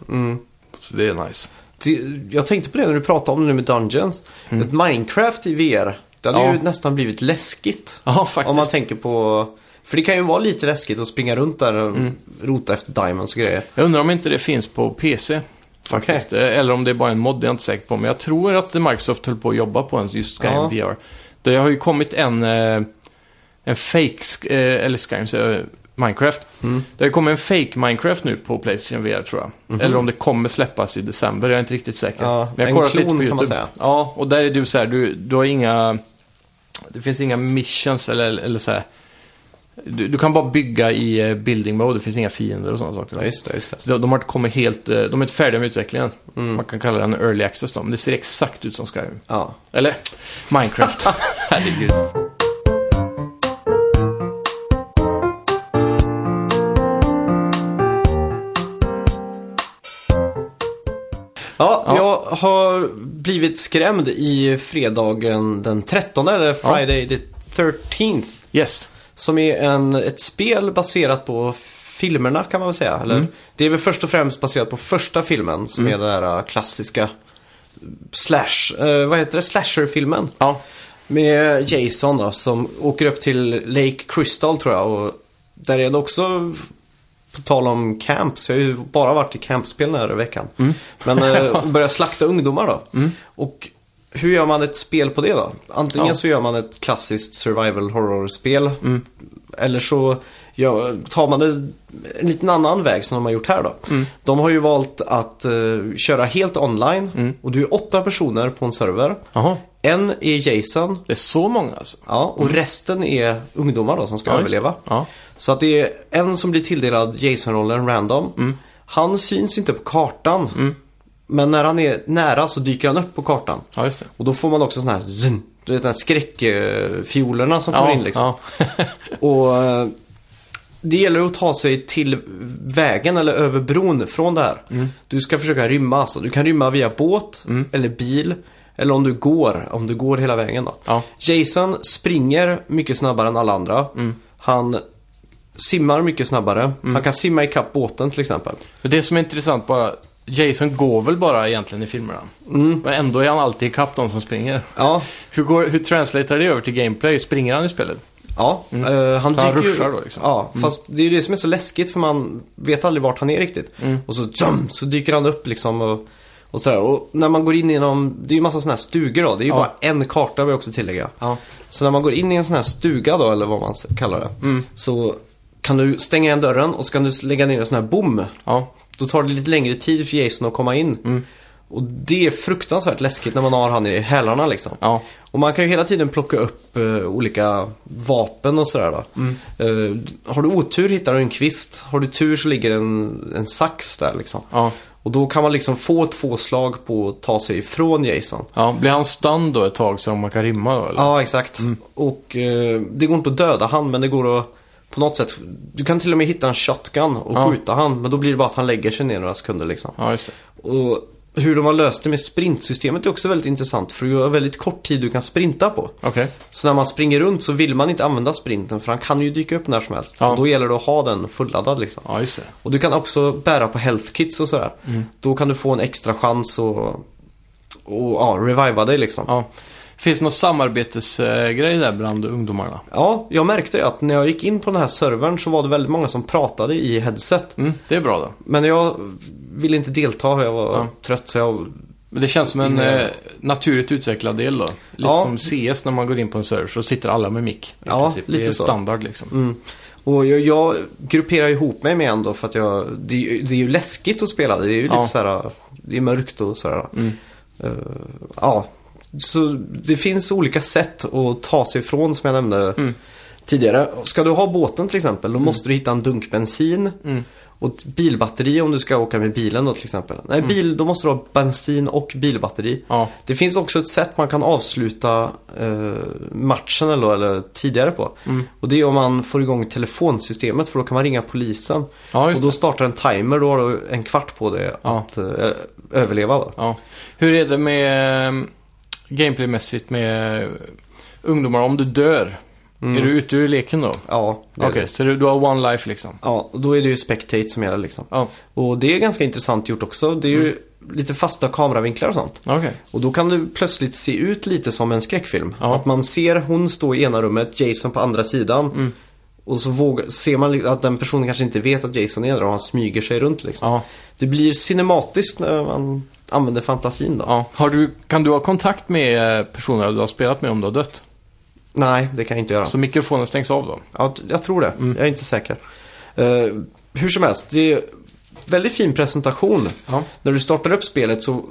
Speaker 2: Så det är nice.
Speaker 1: det, jag tänkte på det när du pratade om det nu med Dungeons. Ett Minecraft i VR, det hade
Speaker 2: Mm. Ja.
Speaker 1: ju nästan blivit läskigt.
Speaker 2: Ja, faktiskt.
Speaker 1: Om man tänker på... För det kan ju vara lite läskigt att springa runt där och rota efter diamonds och grejer.
Speaker 2: Jag undrar om inte det finns på PC. Faktiskt. Eh, Eller om det är bara en mod, det är jag inte säker på. Men jag tror att Microsoft höll på att jobba på en just Skyrim
Speaker 1: Ja.
Speaker 2: VR. Det har ju kommit en, eh, en fake, sk- eh, eller Skyrim, säger jag, eh, Minecraft.
Speaker 1: Mm.
Speaker 2: Det har ju kommit en fake Minecraft nu på Playstation VR tror jag. Eller om det kommer släppas i december, jag är inte riktigt säker.
Speaker 1: Mhm. Ja,
Speaker 2: Men jag
Speaker 1: en
Speaker 2: har kollat lite
Speaker 1: klon
Speaker 2: på
Speaker 1: kan man
Speaker 2: YouTube.
Speaker 1: säga.
Speaker 2: Ja, och där är du så här, du, du har inga... Det finns inga missions eller, eller så här. Du, du kan bara bygga i eh, building mode, det finns inga fiender och sådana saker.
Speaker 1: Ja, just det, just det.
Speaker 2: Så de, de har inte kommit helt, eh, de är inte färdiga med utvecklingen.
Speaker 1: Mm.
Speaker 2: Man kan kalla den early access då, men det ser exakt ut som Skyrim.
Speaker 1: Ja.
Speaker 2: Eller Minecraft. Herregud.
Speaker 1: Ja,
Speaker 2: Ja.
Speaker 1: jag har blivit skrämd i fredagen den 13, eller Friday the 13th.
Speaker 2: Yes.
Speaker 1: Som är en, ett spel baserat på filmerna kan man väl säga. Eller, Det är väl först och främst baserat på första filmen som är den där äh, klassiska slash, eh, vad heter det, slasher-filmen.
Speaker 2: Ja.
Speaker 1: Med Jason då, som åker upp till Lake Crystal tror jag. Och där är det också, på tal om camps, jag har ju bara varit i campspel den här veckan. Men eh, och börjar slakta ungdomar då. Och hur gör man ett spel på det då? Antingen
Speaker 2: Ja.
Speaker 1: så gör man ett klassiskt survival horror-spel. Eller så ja, tar man det en liten annan väg som de har gjort här då. De har ju valt att eh, köra helt online. Och du är åtta personer på en server.
Speaker 2: Jaha.
Speaker 1: En är Jason.
Speaker 2: Det är så många alltså.
Speaker 1: Ja, och resten är ungdomar då som ska
Speaker 2: Ja, just det.
Speaker 1: överleva.
Speaker 2: Ja.
Speaker 1: Så att det är en som blir tilldelad Jason-rollen random.
Speaker 2: Mm.
Speaker 1: Han syns inte på kartan. Men när han är nära så dyker han upp på kartan.
Speaker 2: Ja, just det.
Speaker 1: Och då får man också sådana här zzzn, du vet den här skräckfiolerna som kommer
Speaker 2: Ja,
Speaker 1: in liksom.
Speaker 2: ja.
Speaker 1: Och eh, det gäller att ta sig till vägen eller över bron från det här. Du ska försöka rymma alltså. Du kan rymma via båt eller bil. Eller om du går, om du går hela vägen då.
Speaker 2: Ja.
Speaker 1: Jason springer mycket snabbare än alla andra. Han simmar mycket snabbare. Han kan simma ikapp båten till exempel.
Speaker 2: Men det som är intressant bara, Jason går väl bara egentligen i filmerna.
Speaker 1: Mm.
Speaker 2: Men ändå är han alltid ikapp de som springer.
Speaker 1: Ja,
Speaker 2: Hur, går, hur translatar det över till gameplay? Springer han i spelet?
Speaker 1: ja. eh, han
Speaker 2: Så Mm. han
Speaker 1: dyker ju-
Speaker 2: ruschar då, liksom.
Speaker 1: Ja, fast det är ju det som är så läskigt för man vet aldrig vart han är riktigt.
Speaker 2: Mm.
Speaker 1: Och så, tjum, så dyker han upp liksom och, och sådär. Och när man går in genom, det är ju massa sådana här stugor då. Det är ju
Speaker 2: Ja.
Speaker 1: bara en karta vill jag också tillägga.
Speaker 2: Ja.
Speaker 1: Så när man går in i en sån här stuga då, eller vad man s- kallar det.
Speaker 2: Mm.
Speaker 1: Så kan du stänga igen dörren och så kan du s- lägga ner en sån här bom.
Speaker 2: Ja.
Speaker 1: Då tar det lite längre tid för Jason att komma in.
Speaker 2: Mm.
Speaker 1: Och det är fruktansvärt läskigt när man har han i hälarna liksom.
Speaker 2: Ja.
Speaker 1: Och man kan ju hela tiden plocka upp eh, olika vapen och sådär då.
Speaker 2: Mm.
Speaker 1: Eh, har du otur hittar du en kvist. Har du tur så ligger det en, en sax där liksom.
Speaker 2: Ja.
Speaker 1: Och då kan man liksom få två slag på att ta sig ifrån Jason.
Speaker 2: ja. Blir han stund då ett tag så man kan rimma då, eller?
Speaker 1: Ja, exakt.
Speaker 2: Mm.
Speaker 1: Och eh, det går inte att döda han, men det går att på något sätt. Du kan till och med hitta en shotgun och
Speaker 2: Ja.
Speaker 1: skjuta han, men då blir det bara att han lägger sig ner några sekunder liksom.
Speaker 2: Ja, just det.
Speaker 1: Och hur de har löst det med sprintsystemet är också väldigt intressant, för du har väldigt kort tid du kan sprinta på.
Speaker 2: Okej.
Speaker 1: Så när man springer runt så vill man inte använda sprinten för han kan ju dyka upp när som helst.
Speaker 2: Ja.
Speaker 1: Och då gäller det att ha den fulladdad liksom.
Speaker 2: Ja, just det.
Speaker 1: Och du kan också bära på health kits och sådär.
Speaker 2: Mm.
Speaker 1: Då kan du få en extra chans och, och ja, reviva dig liksom. Ja.
Speaker 2: Ja. Finns det någon samarbetsgrej där bland ungdomarna?
Speaker 1: jag märkte det att när jag gick in på den här servern så var det väldigt många som pratade i headset.
Speaker 2: Mm, det är bra då.
Speaker 1: Men jag ville inte delta, jag var
Speaker 2: Ja.
Speaker 1: trött så jag...
Speaker 2: Men det känns som en
Speaker 1: Mm.
Speaker 2: eh, naturligt utvecklad del då. Lite
Speaker 1: Ja.
Speaker 2: som CS när man går in på en server så sitter alla med mick. i
Speaker 1: Ja,
Speaker 2: princip. det
Speaker 1: lite
Speaker 2: är
Speaker 1: så.
Speaker 2: standard liksom.
Speaker 1: Mm. Och jag, jag grupperar ihop mig med en då för att jag, det, är ju- det är ju läskigt att spela. Det är ju
Speaker 2: Ja.
Speaker 1: lite så här, det är mörkt och sådär.
Speaker 2: Mm.
Speaker 1: Eh, ja, så det finns olika sätt att ta sig ifrån som jag nämnde
Speaker 2: Mm.
Speaker 1: tidigare. Ska du ha båten till exempel, då måste du hitta en dunk bensin.
Speaker 2: Mm.
Speaker 1: Och ett bilbatteri om du ska åka med bilen då till exempel. Nej, bil, då måste du ha bensin och bilbatteri.
Speaker 2: Mm. Ja,
Speaker 1: Det finns också ett sätt man kan avsluta eh, matchen eller, eller tidigare på.
Speaker 2: Mm.
Speaker 1: Och det är om man får igång telefonsystemet för då kan man ringa polisen.
Speaker 2: ja just
Speaker 1: och då
Speaker 2: det.
Speaker 1: startar en timer, då har du en kvart på dig
Speaker 2: Ja.
Speaker 1: att eh, överleva. Då.
Speaker 2: Ja. Hur är det med eh, gameplaymässigt med eh, ungdomar? Om du dör, är du ute ur leken då?
Speaker 1: Ja, Mm. det är
Speaker 2: Okej,
Speaker 1: det.
Speaker 2: så du, du har one life liksom?
Speaker 1: Ja, och då är det ju spectate som gäller liksom.
Speaker 2: Ja, Mm.
Speaker 1: Och det är ganska intressant gjort också. Det är ju lite fasta kameravinklar och sånt.
Speaker 2: Okej.
Speaker 1: Och då kan du plötsligt se ut lite som en skräckfilm.
Speaker 2: Ja.
Speaker 1: Att man ser hon stå i ena rummet, Jason på andra sidan.
Speaker 2: Mm.
Speaker 1: Och så vågar, ser man li- att den personen kanske inte vet att Jason är där och han smyger sig runt liksom.
Speaker 2: Ja.
Speaker 1: Det blir cinematiskt när man använder fantasin då.
Speaker 2: ja. Har du, kan du ha kontakt med eh, personer du har spelat med om du har dött?
Speaker 1: Nej, det kan jag inte göra.
Speaker 2: Så Mm. mikrofonen stängs av då?
Speaker 1: Ja, t- jag tror det. Jag är inte säker. Eh, hur som helst, det är väldigt fin presentation.
Speaker 2: Ja.
Speaker 1: När du startar upp spelet så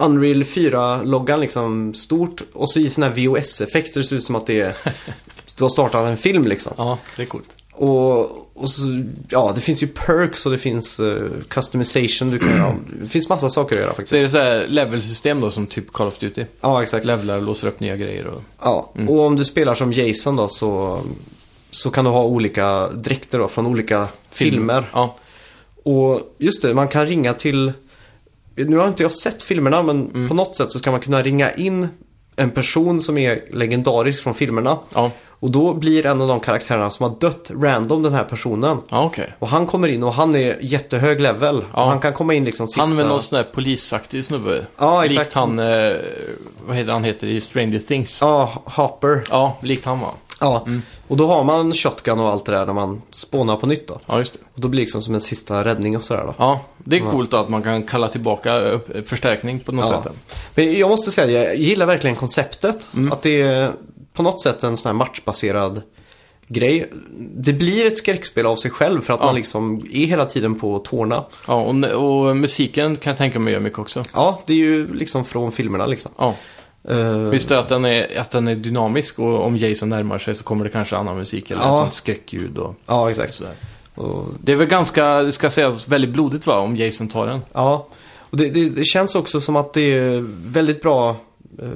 Speaker 1: Unreal 4-loggan liksom stort och så i sån här VOS-effekt så det ser ut som att det är, du har startat en film liksom.
Speaker 2: Ja, det är coolt.
Speaker 1: Och, och så, ja det finns ju perks och det finns eh, customization du kan göra. Det finns massa saker att göra faktiskt.
Speaker 2: Så är det så här levelsystem då som typ Call of Duty?
Speaker 1: Ja, exakt.
Speaker 2: Levlar och låser upp nya grejer och...
Speaker 1: Ja. Och om du spelar som Jason då så, så kan du ha olika dräkter då från olika filmer.
Speaker 2: Ja.
Speaker 1: Och just det, man kan ringa till... Nu har inte jag sett filmerna men
Speaker 2: Mm.
Speaker 1: på något sätt så ska man kunna ringa in en person som är legendarisk från filmerna.
Speaker 2: Ja,
Speaker 1: Och då blir en av de karaktärerna som har dött random den här personen.
Speaker 2: ja okej.
Speaker 1: Och han kommer in och han är jättehög level.
Speaker 2: Ja.
Speaker 1: Och han kan komma in liksom sista...
Speaker 2: Han med någon sån där polisaktig snubbe.
Speaker 1: Ja, exakt.
Speaker 2: Likt han, eh, vad heter han heter i Stranger Things? Ja,
Speaker 1: Ja, Hopper.
Speaker 2: likt han va?
Speaker 1: Ja. Och då har man shotgun och allt det där när man spånar på nytt då.
Speaker 2: Ja, just det.
Speaker 1: Och då blir det liksom som en sista räddning och sådär då.
Speaker 2: Ja, det är coolt då att man kan kalla tillbaka eh, förstärkning på något
Speaker 1: Ja.
Speaker 2: sätt.
Speaker 1: Men jag måste säga att jag gillar verkligen konceptet. Att det är på något sätt en sån här matchbaserad grej. Det blir ett skräckspel av sig själv för att man liksom är hela tiden på tårna.
Speaker 2: Ja, och, och musiken kan jag tänka mig gör mycket också.
Speaker 1: Ja, det är ju liksom från filmerna liksom.
Speaker 2: Ja,
Speaker 1: Eh,
Speaker 2: just det att den, är, att den är dynamisk och om Jason närmar sig så kommer det kanske annan musik eller
Speaker 1: Ja.
Speaker 2: ett sånt skräckljud och
Speaker 1: ja, exakt.
Speaker 2: sådär.
Speaker 1: Eh, Och,
Speaker 2: Det är väl ganska, det ska sägas, väldigt blodigt va, om Jason tar den.
Speaker 1: ja, och det, det, det känns också som att det är väldigt bra eh,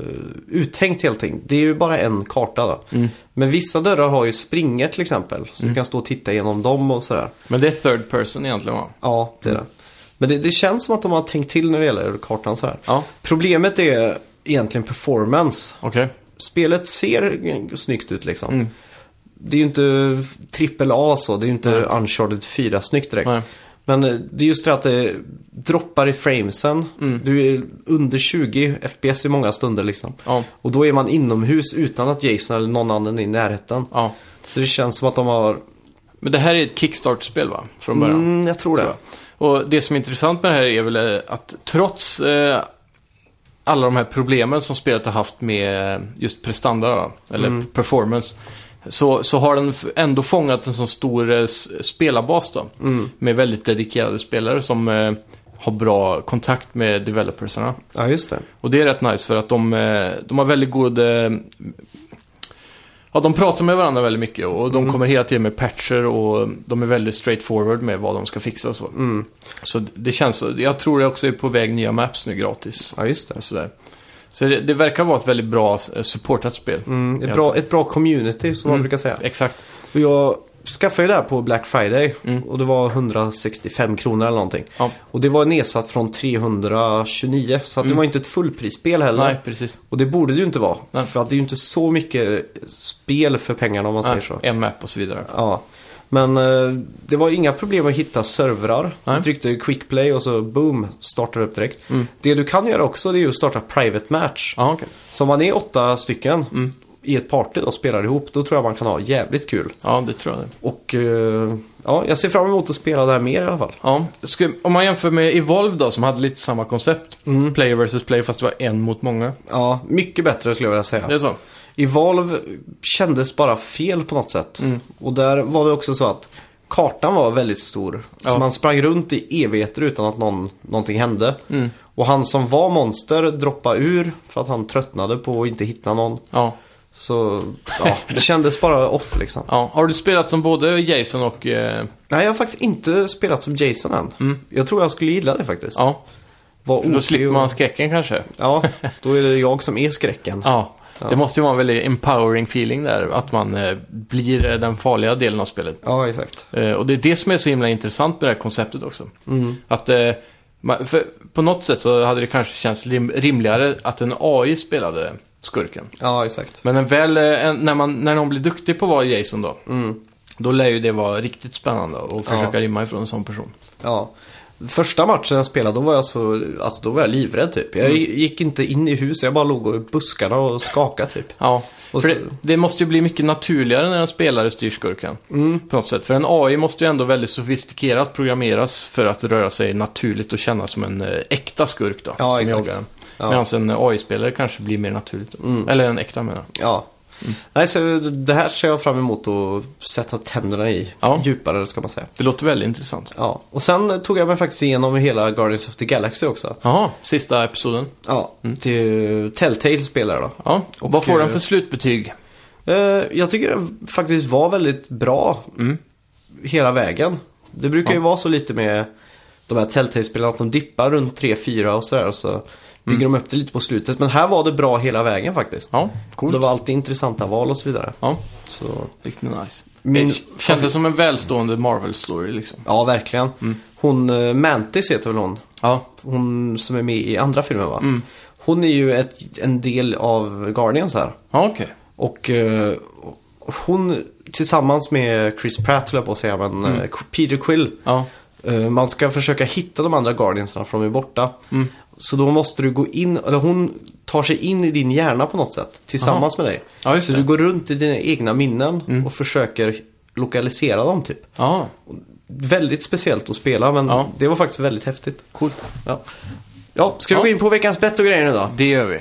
Speaker 1: uttänkt helt enkelt. Det är ju bara en karta då. Men vissa dörrar har ju springor till exempel. Så du kan stå och titta igenom dem och sådär.
Speaker 2: Men det är third person egentligen va?
Speaker 1: Ja, det är det. Men det, det känns som att de har tänkt till när det gäller kartan så här.
Speaker 2: Ja,
Speaker 1: Problemet är egentligen performance.
Speaker 2: okej.
Speaker 1: Spelet ser snyggt ut liksom.
Speaker 2: Mm.
Speaker 1: Det är ju inte trippel A så, det är ju inte Uncharted 4 snyggt direkt.
Speaker 2: Nej.
Speaker 1: Men eh, det är just det att det droppar i framesen.
Speaker 2: Mm.
Speaker 1: Du är under 20 FPS i många stunder liksom.
Speaker 2: Ja,
Speaker 1: Och då är man inomhus utan att Jason eller någon annan är i närheten.
Speaker 2: ja.
Speaker 1: Så det känns som att de har...
Speaker 2: Men det här är ett Kickstart-spel va? Från början?
Speaker 1: Mm, jag tror det.
Speaker 2: Tror Och det som är intressant med det här är väl eh, att trots eh, alla de här problemen som spelet har haft med just prestanda, då, eller performance, så, så har den f- ändå fångat en sån stor eh, s- spelarbas då. Med väldigt dedikerade spelare som eh, har bra kontakt med developersarna.
Speaker 1: Ja, just det.
Speaker 2: Och det är rätt nice för att de, eh, de har väldigt god... eh, Ja, de pratar med varandra väldigt mycket och
Speaker 1: Mm.
Speaker 2: de kommer hela tiden med patcher och de är väldigt straightforward med vad de ska fixa och så.
Speaker 1: Mm.
Speaker 2: Så det känns... Jag tror det också är på väg nya maps nu gratis.
Speaker 1: Ja, just det.
Speaker 2: Och sådär. Så det, det verkar vara ett väldigt bra eh, supportat spel.
Speaker 1: Mm, ett, bra, ett bra community som
Speaker 2: Mm.
Speaker 1: man brukar säga.
Speaker 2: Exakt.
Speaker 1: Och jag skaffade ju det här på Black Friday
Speaker 2: Mm.
Speaker 1: och det var 165 kronor eller någonting.
Speaker 2: Ja.
Speaker 1: Och det var nedsatt från 329 så att det var inte ett fullprisspel heller.
Speaker 2: Mm. Nej, precis.
Speaker 1: Och det borde det ju inte vara.
Speaker 2: Nej.
Speaker 1: För att det är ju inte så mycket spel för pengarna om man säger
Speaker 2: Nej,
Speaker 1: så.
Speaker 2: En map och så vidare.
Speaker 1: Ja. Men eh, det var inga problem att hitta servrar.
Speaker 2: Nej. Mm.
Speaker 1: Man tryckte quick play och så boom, startar upp direkt. Det du kan göra också det är ju att starta private match.
Speaker 2: Ja, okej.
Speaker 1: Så om man är åtta stycken i ett party och spelar ihop, då tror jag man kan ha jävligt kul.
Speaker 2: Ja, det tror jag det.
Speaker 1: Och eh, ja, jag ser fram emot att spela det här mer i alla fall.
Speaker 2: Ja, ska, om man jämför med Evolve då, som hade lite samma koncept.
Speaker 1: Mm.
Speaker 2: Player versus player, fast det var en mot många.
Speaker 1: Ja, mycket bättre skulle jag vilja
Speaker 2: Det
Speaker 1: säga.
Speaker 2: är så?
Speaker 1: Evolve kändes bara fel på något sätt. Och där var det också så att kartan var väldigt stor.
Speaker 2: Ja.
Speaker 1: Så man sprang runt i evigheter utan att någon, någonting hände. Och han som var monster droppade ur för att han tröttnade på att inte hitta någon.
Speaker 2: Ja.
Speaker 1: Så ja, det kändes bara off liksom.
Speaker 2: Ja, har du spelat som både Jason och... Eh,
Speaker 1: Nej, jag har faktiskt inte spelat som Jason än. Jag tror jag skulle gilla det faktiskt.
Speaker 2: Mm. ja,
Speaker 1: Var
Speaker 2: för då
Speaker 1: ofri
Speaker 2: slipper
Speaker 1: och-
Speaker 2: man skräcken kanske.
Speaker 1: Ja, då är det jag som är skräcken.
Speaker 2: Ja, det måste ju vara en väldigt empowering feeling där, att man eh, blir eh, den farliga delen av spelet.
Speaker 1: Ja, exakt.
Speaker 2: Eh, och det är det som är så himla intressant med det här konceptet också. Att eh, man, för på något sätt så hade det kanske känts lim, rimligare att en AI spelade skurken.
Speaker 1: Ja, exakt.
Speaker 2: Men en väl, eh, en, när, man, när någon blir duktig på att vara Jason då, då lär ju det vara riktigt spännande och försöka rimma ifrån en sån person.
Speaker 1: Ja. Första matchen jag spelade, då var jag så, alltså då var jag livrädd typ. Jag
Speaker 2: Mm.
Speaker 1: gick inte in i huset, jag bara låg och- i buskarna och skakade typ.
Speaker 2: Ja,
Speaker 1: Och
Speaker 2: för
Speaker 1: så-
Speaker 2: det, det måste ju bli mycket naturligare när en spelare styr skurken.
Speaker 1: Mm.
Speaker 2: På något sätt. För en AI måste ju ändå väldigt sofistikerat programmeras för att röra sig naturligt och kännas som en eh, äkta skurk då.
Speaker 1: Ja,
Speaker 2: som
Speaker 1: exakt.
Speaker 2: jagar en.
Speaker 1: Ja. Mm.
Speaker 2: Medan en AI-spelare kanske blir mer naturligt. då. Eller en äkta menar jag.
Speaker 1: Ja.
Speaker 2: Mm.
Speaker 1: Nej, så det här ser jag fram emot att sätta tänderna i.
Speaker 2: Ja.
Speaker 1: Djupare ska man säga.
Speaker 2: Det låter väldigt intressant.
Speaker 1: Ja. Och sen tog jag mig faktiskt igenom hela Guardians of the Galaxy också.
Speaker 2: Jaha, sista episoden.
Speaker 1: Ja, till Telltale spelar då.
Speaker 2: Mm. Ja,
Speaker 1: Och,
Speaker 2: vad får
Speaker 1: eh,
Speaker 2: den för slutbetyg?
Speaker 1: Eh, Jag tycker det faktiskt var väldigt bra
Speaker 2: Mm.
Speaker 1: hela vägen. Det brukar ju vara så lite med de här Telltale-spelarna att de dippar runt 3-4 och sådär. Och så bygger de upp det lite på slutet. Men här var det bra hela vägen faktiskt.
Speaker 2: Mm. Ja, coolt.
Speaker 1: Det var alltid intressanta val och så vidare.
Speaker 2: Ja,
Speaker 1: Så
Speaker 2: riktigt nice.
Speaker 1: Min-
Speaker 2: det känns det som en välstående Marvel-story liksom.
Speaker 1: Ja, verkligen. Hon, eh, Mantis heter väl hon.
Speaker 2: Ja,
Speaker 1: Hon som är med i andra filmen va?
Speaker 2: Mm.
Speaker 1: Hon är ju ett, en del av Guardians här.
Speaker 2: ja okej.
Speaker 1: Och eh, hon tillsammans med Chris Pratt höll jag på att säga, men eh, Peter Quill.
Speaker 2: Mm. Ja,
Speaker 1: Eh, man ska försöka hitta de andra Guardiansarna för de är borta.
Speaker 2: Mm.
Speaker 1: Så då måste du gå in, eller hon tar sig in i din hjärna på något sätt tillsammans med dig.
Speaker 2: Ja, just
Speaker 1: Så
Speaker 2: det. Mm.
Speaker 1: du går runt i dina egna minnen och försöker lokalisera dem typ.
Speaker 2: ja,
Speaker 1: Väldigt speciellt att spela men
Speaker 2: Ja.
Speaker 1: det var faktiskt väldigt häftigt.
Speaker 2: coolt.
Speaker 1: Ja, ja ska vi
Speaker 2: Ja.
Speaker 1: gå in på veckans bett och grejer nu då?
Speaker 2: Det gör vi.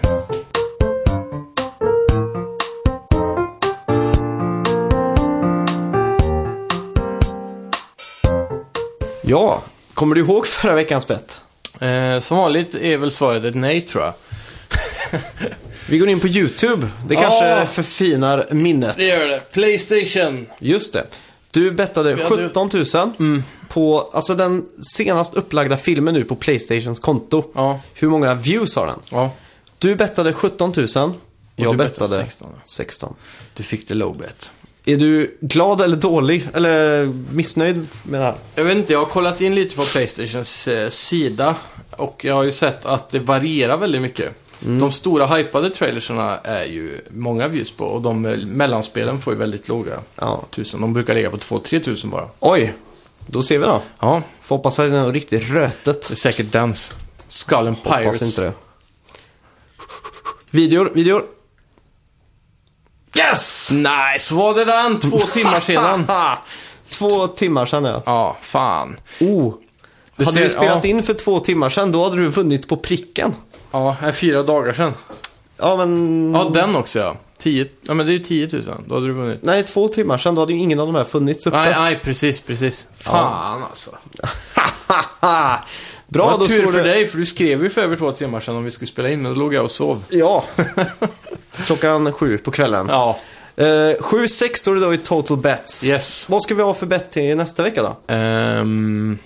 Speaker 1: Ja, kommer du ihåg förra veckans bett?
Speaker 2: Eh, som vanligt är väl svaret ett nej tror jag.
Speaker 1: Vi går in på YouTube. Det
Speaker 2: Ja.
Speaker 1: kanske förfinar minnet.
Speaker 2: gör det. Playstation.
Speaker 1: Just det. Du bettade
Speaker 2: Vi hade-
Speaker 1: 17 000
Speaker 2: Mm.
Speaker 1: på, alltså den senast upplagda filmen nu på Playstations konto.
Speaker 2: Ja,
Speaker 1: Hur många views har den?
Speaker 2: ja.
Speaker 1: Du bettade 17 000. Jag
Speaker 2: du bettade
Speaker 1: bettade
Speaker 2: 16 000.
Speaker 1: 16.
Speaker 2: Du fick det low bet.
Speaker 1: Är du glad eller dålig? Eller missnöjd med det här?
Speaker 2: Jag vet inte, jag har kollat in lite på Playstations eh, sida. Och jag har ju sett att det varierar väldigt mycket. De stora hypade trailersarna är ju många views på. Och de eh, mellanspelen får ju väldigt låga
Speaker 1: Ja.
Speaker 2: tusen. De brukar ligga på 2-3 tusen bara.
Speaker 1: Oj, då ser vi då.
Speaker 2: Ja,
Speaker 1: Får hoppas att det är något riktigt rötet.
Speaker 2: det är säkert dans. Skull and Pirates.
Speaker 1: Hoppas inte det. Videor, videor. Yes!
Speaker 2: Nice, var det den? Två timmar sedan.
Speaker 1: två timmar sedan ja.
Speaker 2: Ja, fan.
Speaker 1: Oh.
Speaker 2: Du
Speaker 1: hade
Speaker 2: ser-
Speaker 1: vi spelat
Speaker 2: ja.
Speaker 1: in för två timmar sedan då hade du vunnit på pricken.
Speaker 2: Ja, här är fyra dagar sedan.
Speaker 1: Ja men...
Speaker 2: Ja, den också ja. 10, ja men det är ju 10 000. Då hade du vunnit.
Speaker 1: Nej, två timmar sedan då hade ju ingen av de här funnits uppe.
Speaker 2: Nej, nej, precis, precis. Fan alltså.
Speaker 1: Bra,
Speaker 2: Vad
Speaker 1: då
Speaker 2: tur
Speaker 1: står
Speaker 2: för
Speaker 1: det...
Speaker 2: dig, för du skrev ju för över två timmar sedan om vi skulle spela in, men då låg jag och sov.
Speaker 1: Ja. Klockan sju på kvällen.
Speaker 2: Ja.
Speaker 1: Eh, 7-6 står det då i total bets.
Speaker 2: Yes.
Speaker 1: Vad ska vi ha för bett till nästa vecka då?
Speaker 2: Ehm,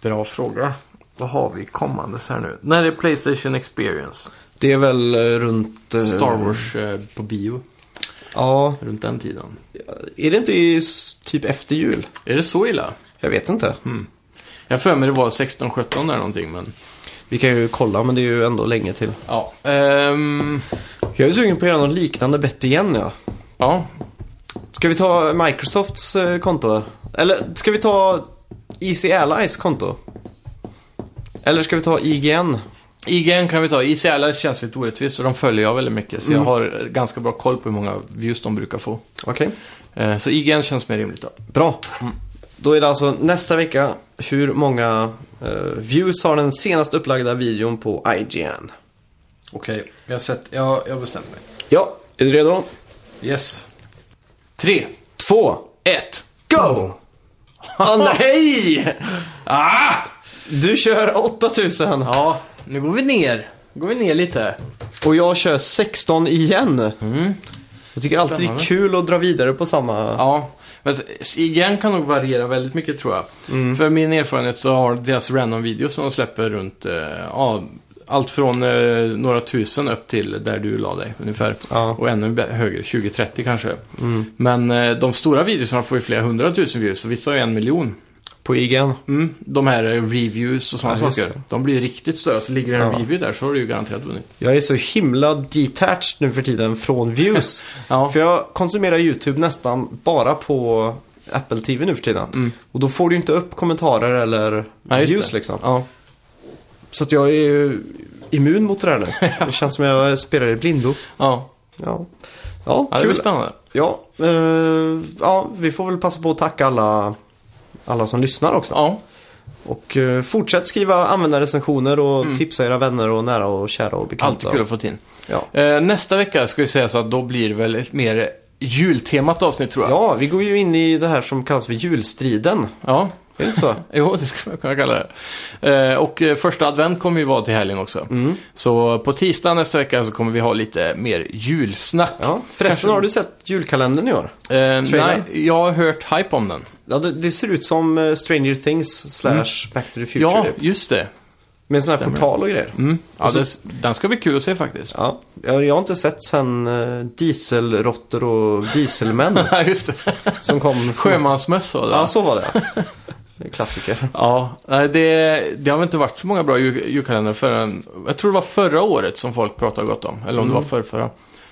Speaker 2: bra fråga. Vad har vi kommandes här nu? När är Playstation Experience?
Speaker 1: Det är väl eh, runt... eh,
Speaker 2: Star Wars eh, på bio,
Speaker 1: Ja,
Speaker 2: runt den tiden.
Speaker 1: är det inte i, s- typ efter jul?
Speaker 2: Är det så illa?
Speaker 1: Jag vet inte.
Speaker 2: Mm. Jag har för mig det var 16-17 eller någonting, men...
Speaker 1: Vi kan ju kolla, men det är ju ändå länge till.
Speaker 2: Ja. Ehm,
Speaker 1: Jag är sugen på att göra något liknande bett igen ja.
Speaker 2: ja.
Speaker 1: Ska vi ta Microsofts eh, konto? Eller ska vi ta Easy Allies konto? Eller ska vi ta IGN?
Speaker 2: IGN kan vi ta. ICL är- känns lite orättvist, för de följer jag väldigt mycket. Så jag har eh, ganska bra koll på hur många views de brukar få.
Speaker 1: Okej.
Speaker 2: Eh, Så IGN känns mer rimligt då.
Speaker 1: Bra. Då är det alltså nästa vecka. Hur många eh, views har den senast upplagda videon på IGN?
Speaker 2: Okej, jag har sett. Jag, jag bestämt mig.
Speaker 1: Ja, är du redo?
Speaker 2: Yes. Tre,
Speaker 1: Två,
Speaker 2: ett.
Speaker 1: go! Ah nej!
Speaker 2: Ah!
Speaker 1: Du kör 8000
Speaker 2: Ja, nu går vi ner. går vi ner lite.
Speaker 1: och jag kör 16 igen. Jag tycker alltid det är
Speaker 2: Mm. Spännande.
Speaker 1: kul att dra vidare på samma...
Speaker 2: Ja, men IGN kan nog variera väldigt mycket tror jag.
Speaker 1: Mm.
Speaker 2: För min erfarenhet så har deras random-videos som de släpper runt, eh, ja, allt från eh, några tusen upp till där du la dig ungefär.
Speaker 1: Ja. Mm.
Speaker 2: Och ännu be- högre, 20-30 kanske. Men eh, de stora videorna får ju flera hundratusen views, så vissa har ju en miljon.
Speaker 1: På E IGN.
Speaker 2: Mm, de här eh, reviews och sådana
Speaker 1: Ja, just
Speaker 2: saker.
Speaker 1: det.
Speaker 2: De blir ju riktigt stora. Så ligger det en
Speaker 1: Ja.
Speaker 2: review där så har du ju garanterat vunnit.
Speaker 1: Jag är så himla detached nu för tiden från views.
Speaker 2: Ja.
Speaker 1: För jag konsumerar YouTube nästan bara på Apple TV nu för tiden. Och då får du ju inte upp kommentarer eller
Speaker 2: Mm. Ja, just
Speaker 1: views
Speaker 2: det.
Speaker 1: liksom.
Speaker 2: Ja.
Speaker 1: Så att jag är ju immun mot det där nu. Det känns som jag spelar i blindo.
Speaker 2: Ja.
Speaker 1: Ja, ja
Speaker 2: ja, det blir
Speaker 1: kul.
Speaker 2: spännande.
Speaker 1: Ja, eh, ja, vi får väl passa på att tacka alla, alla som lyssnar också.
Speaker 2: Ja,
Speaker 1: Och eh, fortsätt skriva användarrecensioner och tipsa era vänner och nära och kära och bekanta.
Speaker 2: Mm. alltid kul att få in.
Speaker 1: Ja.
Speaker 2: Eh, nästa vecka ska vi säga så att då blir det väl ett mer jultemat avsnitt tror jag.
Speaker 1: ja, vi går ju in i det här som kallas för julstriden.
Speaker 2: Ja.
Speaker 1: Är det inte så?
Speaker 2: Jo, det skulle man kunna kalla det. Eh, och eh, första advent kommer ju vara till helgen också.
Speaker 1: Mm.
Speaker 2: Så på tisdag nästa vecka så kommer vi ha lite mer julsnack.
Speaker 1: Ja. Förresten, har du sett julkalendern i år?
Speaker 2: Eh,
Speaker 1: Trailern?
Speaker 2: nej, jag har hört hype om den.
Speaker 1: Ja, det, det ser ut som eh, Stranger Things slash Back to the Future.
Speaker 2: Mm. ja,
Speaker 1: typ.
Speaker 2: just det.
Speaker 1: Med en sån här portal och grejer.
Speaker 2: Mm. Ja,
Speaker 1: Och så-
Speaker 2: det. Den ska bli kul att se faktiskt.
Speaker 1: Ja, jag, jag har inte sett sen eh, dieselråttor och dieselmän
Speaker 2: Ja, just det.
Speaker 1: som kom.
Speaker 2: Sjömansmöss var det.
Speaker 1: Ja, så var det. Det är Klassiker.
Speaker 2: Ja, nej, det, det har väl inte varit så många bra jul- julkalendrar förrän... Jag tror det var förra året som folk pratade gott om. Eller om det var förrförra.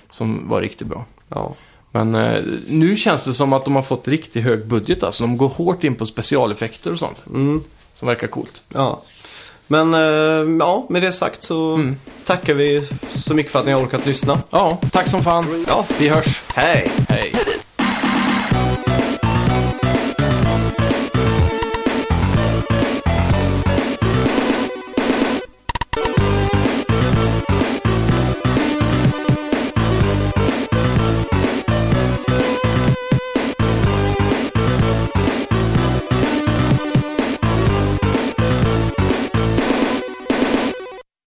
Speaker 2: Som var riktigt bra.
Speaker 1: Ja.
Speaker 2: Men eh, nu känns det som att de har fått riktigt hög budget. Alltså de går hårt in på specialeffekter och sånt.
Speaker 1: Mm,
Speaker 2: Som verkar coolt.
Speaker 1: ja. Men eh, ja, med det sagt så tackar vi så mycket för att ni har orkat lyssna.
Speaker 2: Ja, tack som fan.
Speaker 1: Ja,
Speaker 2: Vi hörs.
Speaker 1: hej!
Speaker 2: Hej.